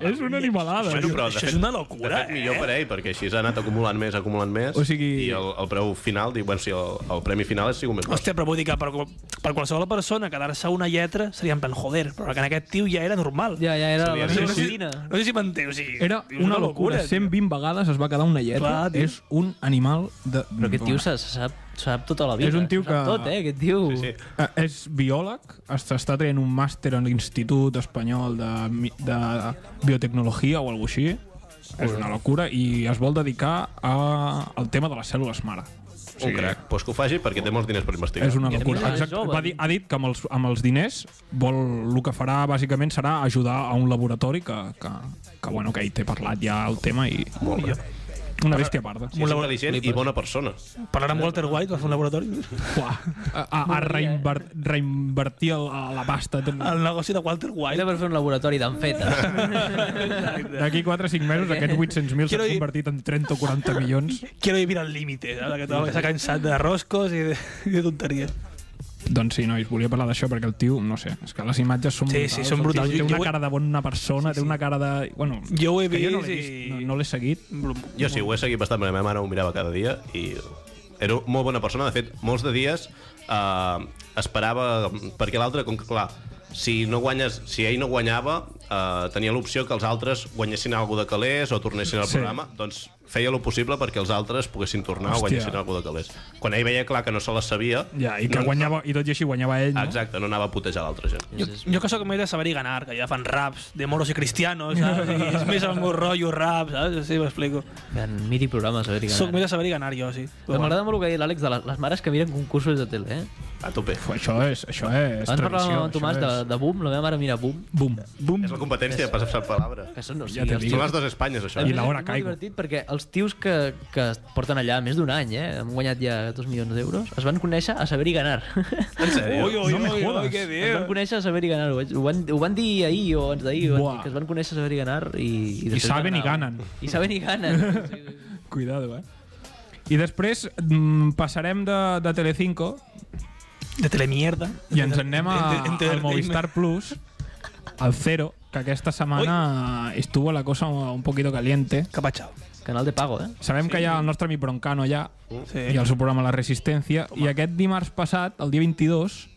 D: és una animalada. eh?
A: Bueno,
D: tio.
A: però, de
C: Això
A: fet,
C: és una
A: De
C: locura, ¿eh?
A: fet, millor per ell, perquè així s'ha anat acumulant més, acumulant més,
D: O sigui-
A: i el, el preu final, dic, bueno, sí, el, el premi final ha sigut més baix.
C: Hòstia, però vull dir que per, qual- per qualsevol persona quedar-se una lletra seria en plan, joder, però que en aquest tio ja era normal.
B: Ja, ja era la
A: Sí, sí.
B: meva
C: no, sé, si-
B: rutina.
C: no sé si m'entens. O sigui,
D: Era
C: dius,
D: una locura.
C: tio.
D: 120 vegades es va quedar una lletra.
C: Clar, tio.
D: és un animal de...
B: Però aquest tio se se sap, se sap tota la vida.
D: És un tio
B: Se sap
D: que-
B: Tot, eh, aquest tio.
A: Sí,
D: Eh, és biòleg, està, està traient un màster en l'Institut Espanyol de, mi- de Biotecnologia o alguna així. És una locura i es vol dedicar a, al tema de les cèl·lules mare.
A: un crac. Pues que ho faci, perquè té molts diners per investigar.
D: És una
B: I a
D: locura.
B: més és
D: Exacte.
B: jove.
D: Va dir, ha dit que amb els, amb els diners vol, el que farà bàsicament serà ajudar a un laboratori que, que, que, bueno, que hi té parlat ja el tema i... Una bèstia parda.
A: Sí, és intel·ligent i bona persona.
C: Parlar amb Walter White, va fer un laboratori.
D: Uah, a, a, a reinver, reinvertir el, a la pasta.
C: El negoci de Walter White.
B: Era per fer un laboratori d'amfetes.
D: D'aquí 4 o 5 mesos aquest 800.000 s'ha
C: Quiero ir-
D: convertit en 30 o 40 milions.
C: Quiero vivir al límite, saps? Aquest home que s'ha cansat de roscos i de, i de tonteries.
D: Doncs sí, nois, volia parlar d'això perquè el tio, no sé, és que les imatges són
C: Sí, sí, són
D: el tio
C: brutals.
D: Té
C: Jo-
D: una
C: jo-
D: cara de bona persona, té una cara de... Bueno,
C: Jo ho he
D: que jo no
C: vist
D: l'he
C: i-
D: vist, no, no l'he seguit.
A: Jo sí, ho he seguit bastant, perquè la meva mare ho mirava cada dia i era molt bona persona. De fet, molts de dies eh, esperava... Perquè l'altre, com que, clar, si, no guanyes, si ell no guanyava, eh, tenia l'opció que els altres guanyessin alguna de calés o tornessin al
D: Sí.
A: programa. Doncs feia lo possible perquè els altres poguessin tornar
D: Hòstia.
A: o guanyessin alguna de calés. Quan ell veia clar que no se la sabia...
D: Ja, i que
A: no,
D: guanyava, i tot i així guanyava ell,
A: No,
D: no?
A: exacte, no anava a putejar l'altra gent.
C: Jo, jo que sóc més de saber i ganar, que ja fan raps de moros i cristianos, saps? I és més el meu rotllo rap, saps? Sí, m'explico.
B: Gran, miri programes, a veure.
C: Soc més de saber i ganar, jo, sí. Però bueno.
B: M'agrada molt el que ha dit l'Àlex de la- les mares que miren concursos de tele, eh?
A: A tope.
D: Uf, això és, això és
B: Abans parlàvem
D: tradició.
B: amb en Tomàs de, de Boom, la meva mare mira Boom.
D: Bum. Bum.
A: És la competència de passar-se palabra.
B: Que són, o sigui,
D: Ja t'he
B: els
D: dit.
A: Són les dos Espanyes, això. eh?
D: I la
B: és
D: hora
B: molt
D: caigo.
B: divertit perquè els tios que, que es porten allà més d'un any, eh, han guanyat ja dos milions d'euros, es van conèixer a saber i ganar.
A: En sèrio?
C: Ui, ui,
D: No me
C: ui, ui,
D: jodas.
C: què
B: es
C: dius?
B: van conèixer a saber i ganar, ho, vaig- ho van, ho van dir ahir o abans d'ahir, ho van dir,
D: Buah.
B: que es van conèixer a saber i ganar i... I, després
D: saben i
B: van anar.
D: ganen.
B: I saben i ganen. Sí, sí.
D: Cuidado, eh? I després mm, passarem de, de Telecinco
C: De telemierda.
D: i ens en anem a,
C: Ente- ente-
D: al Movistar Plus, al Cero, que aquesta setmana estuvo la cosa un poquito caliente.
C: Cap a xau.
B: Canal de pago, eh?
D: Sabem sí. que hi ha el nostre amic Broncano allà,
C: Sí.
D: i el seu programa La Resistència. I aquest dimarts passat, el dia 22,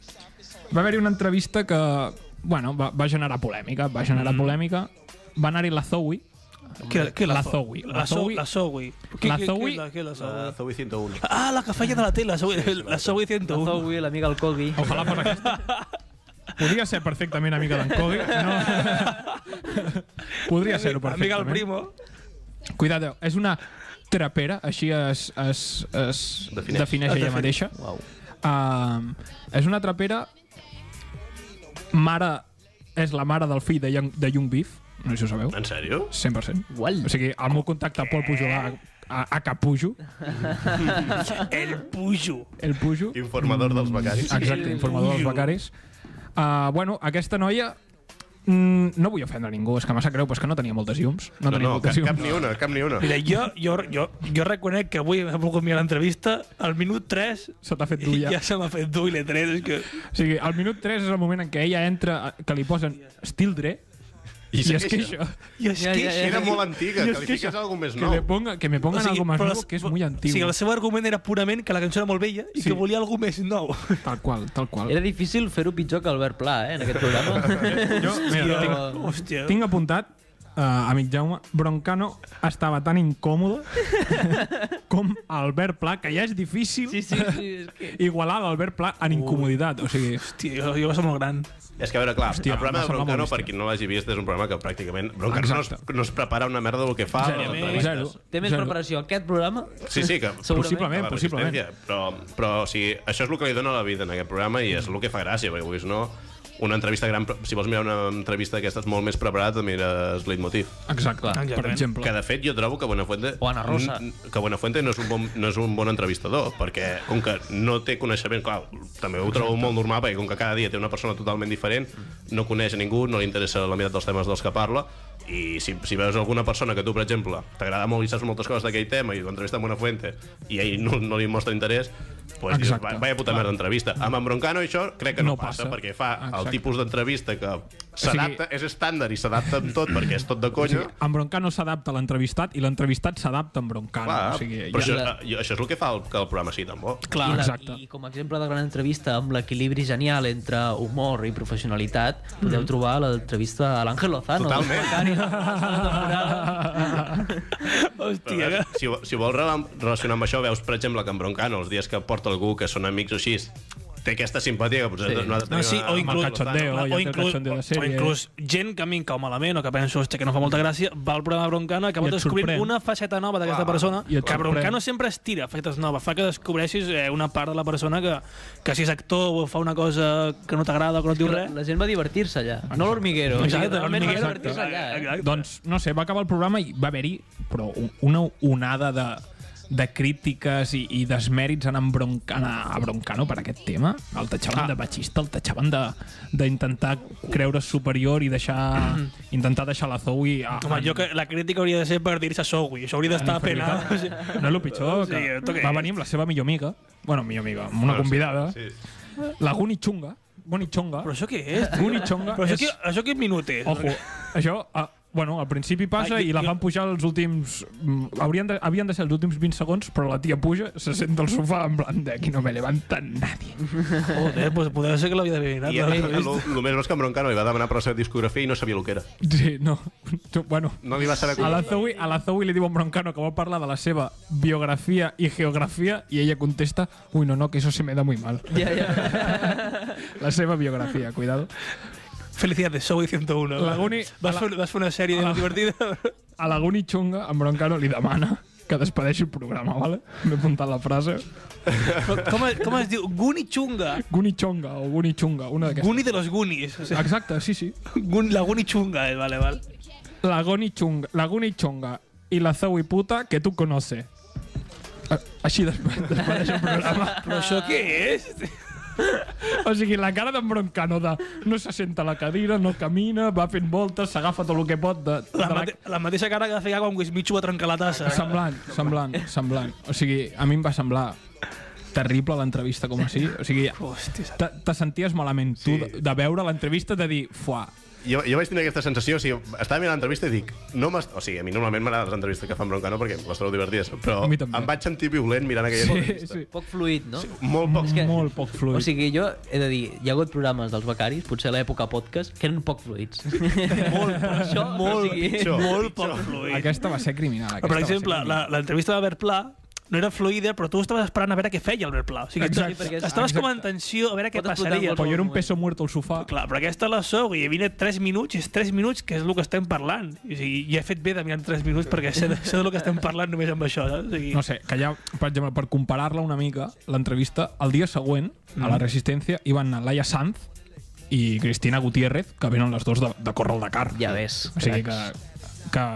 D: va haver-hi una entrevista que bueno, va, va generar polèmica, va
C: Mm.
D: generar polèmica. Va anar-hi la Zoe,
C: Què, què
D: La
C: Zo-
D: Zoe.
C: La
D: La
C: Zoe.
D: Zoe.
C: La Zoe. Què-
D: La
C: què-
D: Zoe.
C: què- la- què és la
A: Ah,
C: Zoe?
A: Zoe 101.
C: Ah, la que feia de la tele, la Zoe, la Zoe
B: La
C: 101.
B: Zoe, l'amiga del Cogui.
D: ojalà fos aquesta. Podria ser perfectament amiga d'en Cody. No. Podria ser-ho
C: Amiga el
B: ¿eh?
D: perfectament.
C: primo.
D: Cuidado, és una trapera, així es, es, es
A: Defineix.
D: defineix, defineix ella mateixa.
B: Uau.
D: Um, és una trapera mare és la mare del fill de Young, de Young Beef no sé si ho sabeu,
A: En sèrio?
D: 100%
B: Ual.
D: o sigui, el meu contacte Pol Pujolà a, a, a Capujo
C: El Pujo.
D: el Pujo,
A: Informador dels becaris.
D: Mm, exacte, informador dels becaris uh, bueno, aquesta noia mm, no vull ofendre ningú, és que massa creu, però és que no tenia moltes llums. No,
A: No,
D: tenia
A: no,
D: moltes
A: cap, cap
D: llums.
A: ni una, cap ni una.
C: Mira, jo, jo, jo, jo reconec que avui m'he volgut mirar l'entrevista, al minut 3
D: Se t'ha fet dur
C: ja.
D: ja.
C: ja se m'ha fet dur i l'he tret, és que...
D: O sigui, al minut 3 és el moment en què ella entra, eh, que li posen Stildre, i, i es queixa.
C: I es
B: Ja, ja,
C: queixa.
B: ja.
A: Era molt antiga,
D: I es
A: que li
D: queixa.
A: fiques alguna més
D: Que,
A: nou.
D: le ponga, que me pongan algo más
C: però
D: nuevo,
C: les-
D: que es
C: O
D: muy
C: sigui,
D: antiguo.
C: el seu argument era purament que la cançó era molt vella i
D: Sí.
C: que volia algú més nou.
D: Tal qual, tal qual.
B: Era difícil fer-ho pitjor que Albert Pla, eh, en aquest programa.
D: Jo, mira,
C: Hòstia,
D: tinc,
C: Hòstia.
D: Tinc apuntat eh, amic Jaume, Broncano estava tan incòmode com Albert Pla, que ja és difícil
B: Sí, sí, sí, és que...
D: igualar l'Albert Pla en incomoditat. O sigui,
C: Hòstia, jo, jo va ser molt gran.
A: És que, a veure, clar, Hòstia, el programa
D: m'ha
A: de
D: semblat
A: Broncano,
D: molt
A: per qui no l'hagi vist, és un programa que pràcticament... Broncano no es,
D: Exacte.
A: no es prepara una merda del que fa. a les
D: zero,
A: entrevistes.
D: zero.
B: Té més
D: zero.
B: preparació aquest programa?
A: Sí, sí, que...
D: Possiblement,
A: que la
D: possiblement.
A: resistència, Però, però o sigui, això és el que li dona la vida en aquest programa i és el que fa gràcia, perquè vulguis o no, una entrevista gran... Si vols mirar una entrevista d'aquestes molt més preparada, te mires Leitmotiv.
D: Exacte,
B: Clar.
D: per
C: Exactament.
D: exemple.
A: Que de fet jo trobo que Buenafuente...
B: O Ana Rosa.
A: n- Que Buenafuente no és, un bon, no és un bon entrevistador, perquè com que no té coneixement... Clar, també ho trobo molt normal, perquè com que cada dia té una persona totalment diferent,
D: Mm.
A: no coneix a ningú, no li interessa la meitat dels temes dels que parla, i si, si veus alguna persona que tu, per exemple, t'agrada molt i saps moltes coses d'aquell tema i l'entrevista amb Buenafuente i ell no, no li mostra interès, pues dius,
D: Exacte.
A: "Va- vaya puta merda d'entrevista. Amb en Broncano això crec que no,
D: No
A: passa,
D: passa.
A: perquè fa el
D: Exacte.
A: tipus d'entrevista que s'adapta, és estàndard i s'adapta amb tot perquè és tot de
D: O sigui,
A: conya.
D: en Broncano s'adapta a l'entrevistat i l'entrevistat s'adapta en Broncano.
A: Clar,
D: Ah, o sigui,
A: però
D: ja,
A: això,
B: La-
A: eh, això és el que fa el, que el programa sigui tan bo.
D: clar,
B: I,
D: exacte.
B: I com a exemple de gran entrevista amb l'equilibri genial entre humor i professionalitat,
D: Mm.
B: podeu trobar l'entrevista a l'Àngel Lozano.
A: Totalment. Però,
C: Hòstia,
A: veus, si, ho- si ho vols rela- relacionar amb això, veus, per exemple, que en Broncano, els dies que porta algú que són amics o així, té aquesta simpatia que potser
B: Sí.
A: sí. nosaltres
C: No, sí, o inclús,
D: el cachondeo,
C: clar,
D: ja
C: o,
D: té el
C: inclús,
D: cachondeo
C: o
D: de sèrie.
C: inclús gent que a mi em cau malament o que penso "Hòstia, que no fa molta gràcia, va al programa de Broncano i acaba
D: I et
C: descobrint
D: sorprèn.
C: una faceta nova d'aquesta
A: Clar,
C: persona
D: i et
C: que
D: sorprèn.
C: Broncano sempre es tira facetes noves, fa que descobreixis eh, una part de la persona que, que si és actor o fa una cosa que no t'agrada o que no et diu
B: La,
C: res
B: la gent va divertir-se allà, no l'hormiguero.
C: Exacte,
B: realment va
C: l'Hormiguero,
B: divertir-se allà.
C: exacte.
B: Eh?
C: Exacte.
D: Doncs, no sé, va acabar el programa i va haver-hi però u- una onada de, de crítiques i, i desmèrits en, en Broncano, a Broncano per aquest tema. El taxaven ah. de batxista, el taxaven de- d'intentar creure superior i deixar intentar deixar la Zoe a,
C: Home, jo que la crítica hauria de ser per dir-se Sowi, això hauria
D: Ah,
C: d'estar penat. O sigui,
D: No és el pitjor,
C: Sí,
D: que
C: tu què
D: va
C: és?
D: venir amb la seva millor amiga, bueno, millor amiga, amb una convidada,
A: Sí.
D: la Guni Chunga, Guni Chunga,
C: Però això què és? tio?
D: Guni Chonga
C: Però això,
D: és-
C: què, això què minut és?
D: Ojo, això... ah, bueno, al principi passa
C: Ai,
D: i la
C: jo-
D: fan pujar els últims... mm, Haurien de, havien de ser els últims 20 segons, però la tia puja, se sent del sofà en plan de aquí no me levanta nadie.
C: Joder, pues podria ser que l'havia de mirar.
A: I
C: l'havia
A: el, el,
C: vist.
A: el més bo és que en Broncano li va demanar per la seva discografia i no sabia el que era.
D: Sí, no. Tu- Bueno,
A: No li va saber
D: a
A: com...
D: la, Zoe, a la Zoe li diu a Broncano que vol parlar de la seva biografia i geografia i ella contesta ui, no, no, que eso se me da muy mal.
B: Ja, ja.
D: La seva biografia, cuidado.
C: Felicidades, Sowi 101.
D: La Guni-
C: Vas,
D: a la-
C: fer, vas fer una sèrie
D: a la-
C: molt divertida.
D: A la Guni Chunga, en Broncano li demana que despedeixi el programa, vale? M'he apuntat la frase.
C: Però com, es- com es diu? Guni Chunga.
D: Guni Chonga o Guni Chunga, una d'aquestes.
C: Guni de los Gunis. O sigui,
D: Exacte, sí, sí.
C: Gun, la Guni Chunga, eh? vale, vale.
D: La Goni Chunga, la Goni Chonga i la Zoe Puta que tu conoce. Eh, Així després, després del programa.
C: Però això què és?
D: O sigui, la cara d'en Broncano de no se senta a la cadira, no camina, va fent voltes, s'agafa tot el que pot de, de
C: La,
D: la,
C: mate la mateixa cara que feia quan Wismichu va trencar la tassa.
D: Semblant, semblant, semblant. O sigui, a mi em va semblar terrible l'entrevista com així. O sigui,
C: Hòstia,
D: te, te senties malament tu de, de veure l'entrevista de dir, fuà,
A: Jo, jo vaig tenir aquesta sensació, o sigui, estava mirant l'entrevista i dic... No m'est- o sigui, a mi normalment m'agraden les entrevistes que fan Broncano perquè les trobo divertides, però
D: A mi també.
A: em vaig sentir violent mirant aquella
D: sí,
A: entrevista.
D: sí,
B: Poc fluid, no?
A: Molt poc...
B: És que-
D: molt poc
B: O
D: fluid.
B: sigui, jo he de dir, hi ha hagut programes dels becaris, potser a l'època podcast, que eren poc fluids. molt, això, molt, o sigui,
A: pitjor.
C: molt poc fluid.
D: aquesta va ser criminal.
C: Però,
D: aquesta
C: per
D: va ser
C: exemple,
D: criminal.
C: la- l'entrevista d'Albert Pla no era fluida, però tu estaves esperant a veure què feia Albert Pla. O sigui,
D: Exacte.
C: exacte, estaves com en tensió a veure què
B: Pot explotar
C: passaria.
B: en
D: Però jo era un
B: moment.
D: peso muerto al sofà.
C: Clar, però aquesta la sou i vine 3 minuts, i és 3 minuts que és el que estem parlant. O sigui, i he fet bé de mirar 3 minuts perquè sé, de- sé del que estem parlant només amb això. Saps? O sigui,
D: No sé, que ja, per exemple, per comparar-la una mica, l'entrevista, el dia següent, a la Resistència, hi van anar Laia Sanz i Cristina Gutiérrez, que venen les dues de, de córrer al Dakar.
B: Ja ves,
D: O sigui que,
B: cracs.
D: que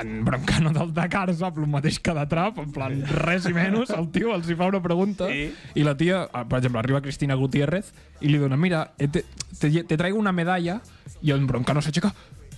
D: en Broncano del Dakar sap el mateix que de Trap, en plan, res i menys, el tio els hi fa una pregunta
C: Sí.
D: i la tia, eh, per exemple, arriba Cristina Gutiérrez i li dona, mira, eh, te, te, te traigo una medalla i el Broncano s'aixeca,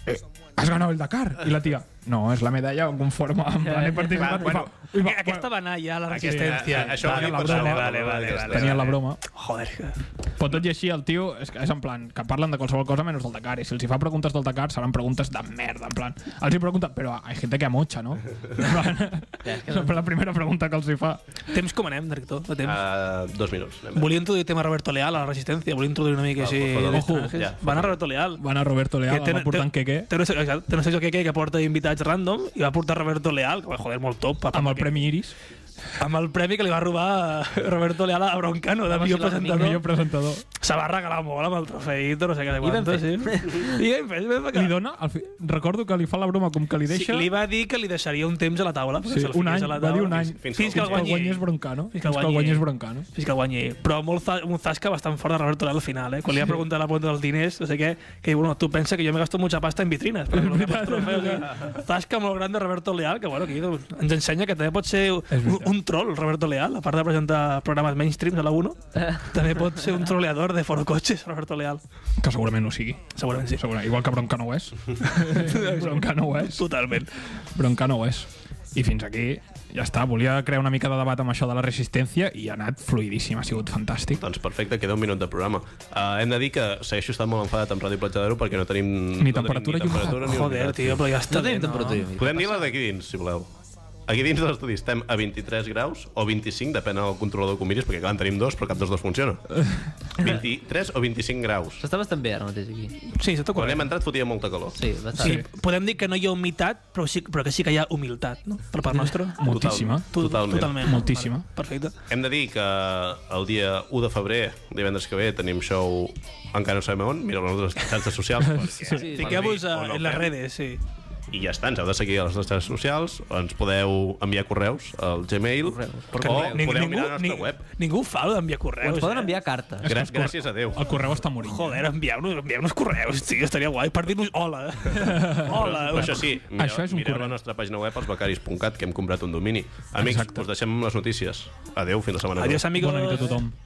D: eh, has ganado el Dakar. I la tia, no, és la medalla conforme en plan, he participat.
A: Clar, bueno,
D: I fa- i fa,
C: aquesta va anar ja a la
A: Aquesta- a-
C: resistència.
A: a- això ho
C: vale,
A: dic per
C: vale,
A: sobre.
C: vale, vale, vale,
D: Tenia la broma.
C: Joder, que-
D: Però tot i així, el tio és, que és en plan, que parlen de qualsevol cosa menys del Dakar, i si els hi fa preguntes del Dakar seran preguntes de merda, en plan. Els hi pregunta, però hay gente que amocha, no? En plan, és la primera pregunta que els hi fa.
C: Temps com anem, director? De temps.
A: Uh, dos minuts. Anem.
C: Volia introduir tema Roberto Leal a la Resistència, volia introduir una mica
A: Va,
C: així...
A: por favor,
C: de
A: ojo,
C: personatges.
A: ja,
C: Van a Roberto Leal.
D: Van a Roberto Leal, que
C: té-
D: va portant
C: té-
D: que què,
C: Té, exacte, té un secció que què, que porta invitats random i va portar Roberto Leal, que va joder molt top. a part
D: amb el
C: que-
D: Premi Iris,
C: Amb el premi que li va robar Roberto Leal a Broncano, de
B: Home,
C: millor
B: si l'amic-
D: el
C: presentador.
D: millor presentador.
C: Se va regalar molt amb el trofeïto, no sé què de
B: I ben
C: quantos, sí.
B: fet.
C: I eh, ben fet, ben fet.
D: Li dona, al fi, recordo que li fa la broma com que li
C: Sí,
D: deixa...
C: li va dir que li deixaria un temps a la taula. perquè
D: Sí,
C: se'l
D: un
C: fiqués
D: any,
C: a la
D: va dir
C: taula
D: un any.
C: fins- Fins,
D: Fins
C: que el guanyi.
D: guanyés Broncano.
C: Fins que el
D: Fins que el
C: guanyi.
D: guanyés Broncano.
C: Fins que el guanyi. Però molt za- un zasca bastant fort de Roberto Leal al final, eh? Quan li va preguntar la punta dels diners, no sé què, que diu, bueno, tu pensa que jo me gasto mucha pasta en vitrines, però no cap trofeu. O sigui, zasca molt gran de Roberto Leal, que bueno, aquí doncs, ens ensenya que també pot ser un,
D: veritat.
C: un troll, Roberto Leal, a part de presentar programes mainstreams a la 1, també pot ser un troleador de forocotxes, Roberto Leal.
D: Que segurament ho sigui.
C: Segurament sí.
D: Segurament. Igual que Broncano ho és. Broncano ho és.
C: Totalment.
D: Broncano ho és. I fins aquí, ja està. Volia crear una mica de debat amb això de la resistència i ha anat fluidíssim, ha sigut fantàstic.
A: Doncs perfecte, queda un minut de programa. Uh, hem de dir que segueixo estant molt enfadat amb Ràdio Platja d'Aro perquè no tenim... no
D: Ni
A: tenim
D: temperatura
A: ni
D: i un-
A: temperatura ni
C: Joder,
A: humitat.
C: tio, però ja està
B: No tenim
C: bé,
B: temperatura. i humitat.
A: Podem dir la d'aquí dins, si voleu. Aquí dins de l'estudi estem a 23 graus o 25, depèn del controlador que ho miris, perquè clar, en tenim dos, però cap dels dos funciona. 23 o 25 graus.
B: S'està bastant bé ara mateix aquí.
C: Sí, s'ha
A: Quan
C: tocat.
A: hem entrat fotia molta calor.
B: Sí, bastant.
C: Sí.
B: Sí.
C: Podem dir que no hi ha humitat, però, sí, però que sí que hi ha humilitat, no? Per part nostra.
D: Moltíssima.
C: Tu-
A: Totalment.
C: totalment.
D: Moltíssima.
C: Vale, perfecte.
A: Hem de dir que el dia 1 de febrer, divendres que ve, tenim show encara no sabem on, mireu les nostres xarxes socials. perquè-
B: Sí.
A: per
C: Fiqueu-vos
A: dir o
C: a-
A: no
C: en les
A: fem.
C: redes, sí.
A: I ja està, ens heu de seguir a les nostres socials, ens podeu enviar correus al Gmail, o
C: Que
A: podeu
C: ni-
A: mirar
C: ningú-
A: la nostra
C: ni-
A: web.
C: Ningú fa lo d'enviar
B: O
C: correus.
B: ens poden
C: eh?
B: enviar cartes.
A: Gra- gràcies a Déu.
D: El correu està morint.
C: Joder, enviar-nos enviar correus, tio, estaria guai. Per dir-nos hola. hola.
A: Però això sí, mireu,
D: Això és un
A: mireu la
D: correu.
A: nostra pàgina web, elsbecaris.cat, que hem comprat un domini. Amics,
D: Exacte.
A: us deixem les notícies. Adeu, fins la setmana. que ve.
C: Adiós, amigos.
D: Bona nit a tothom.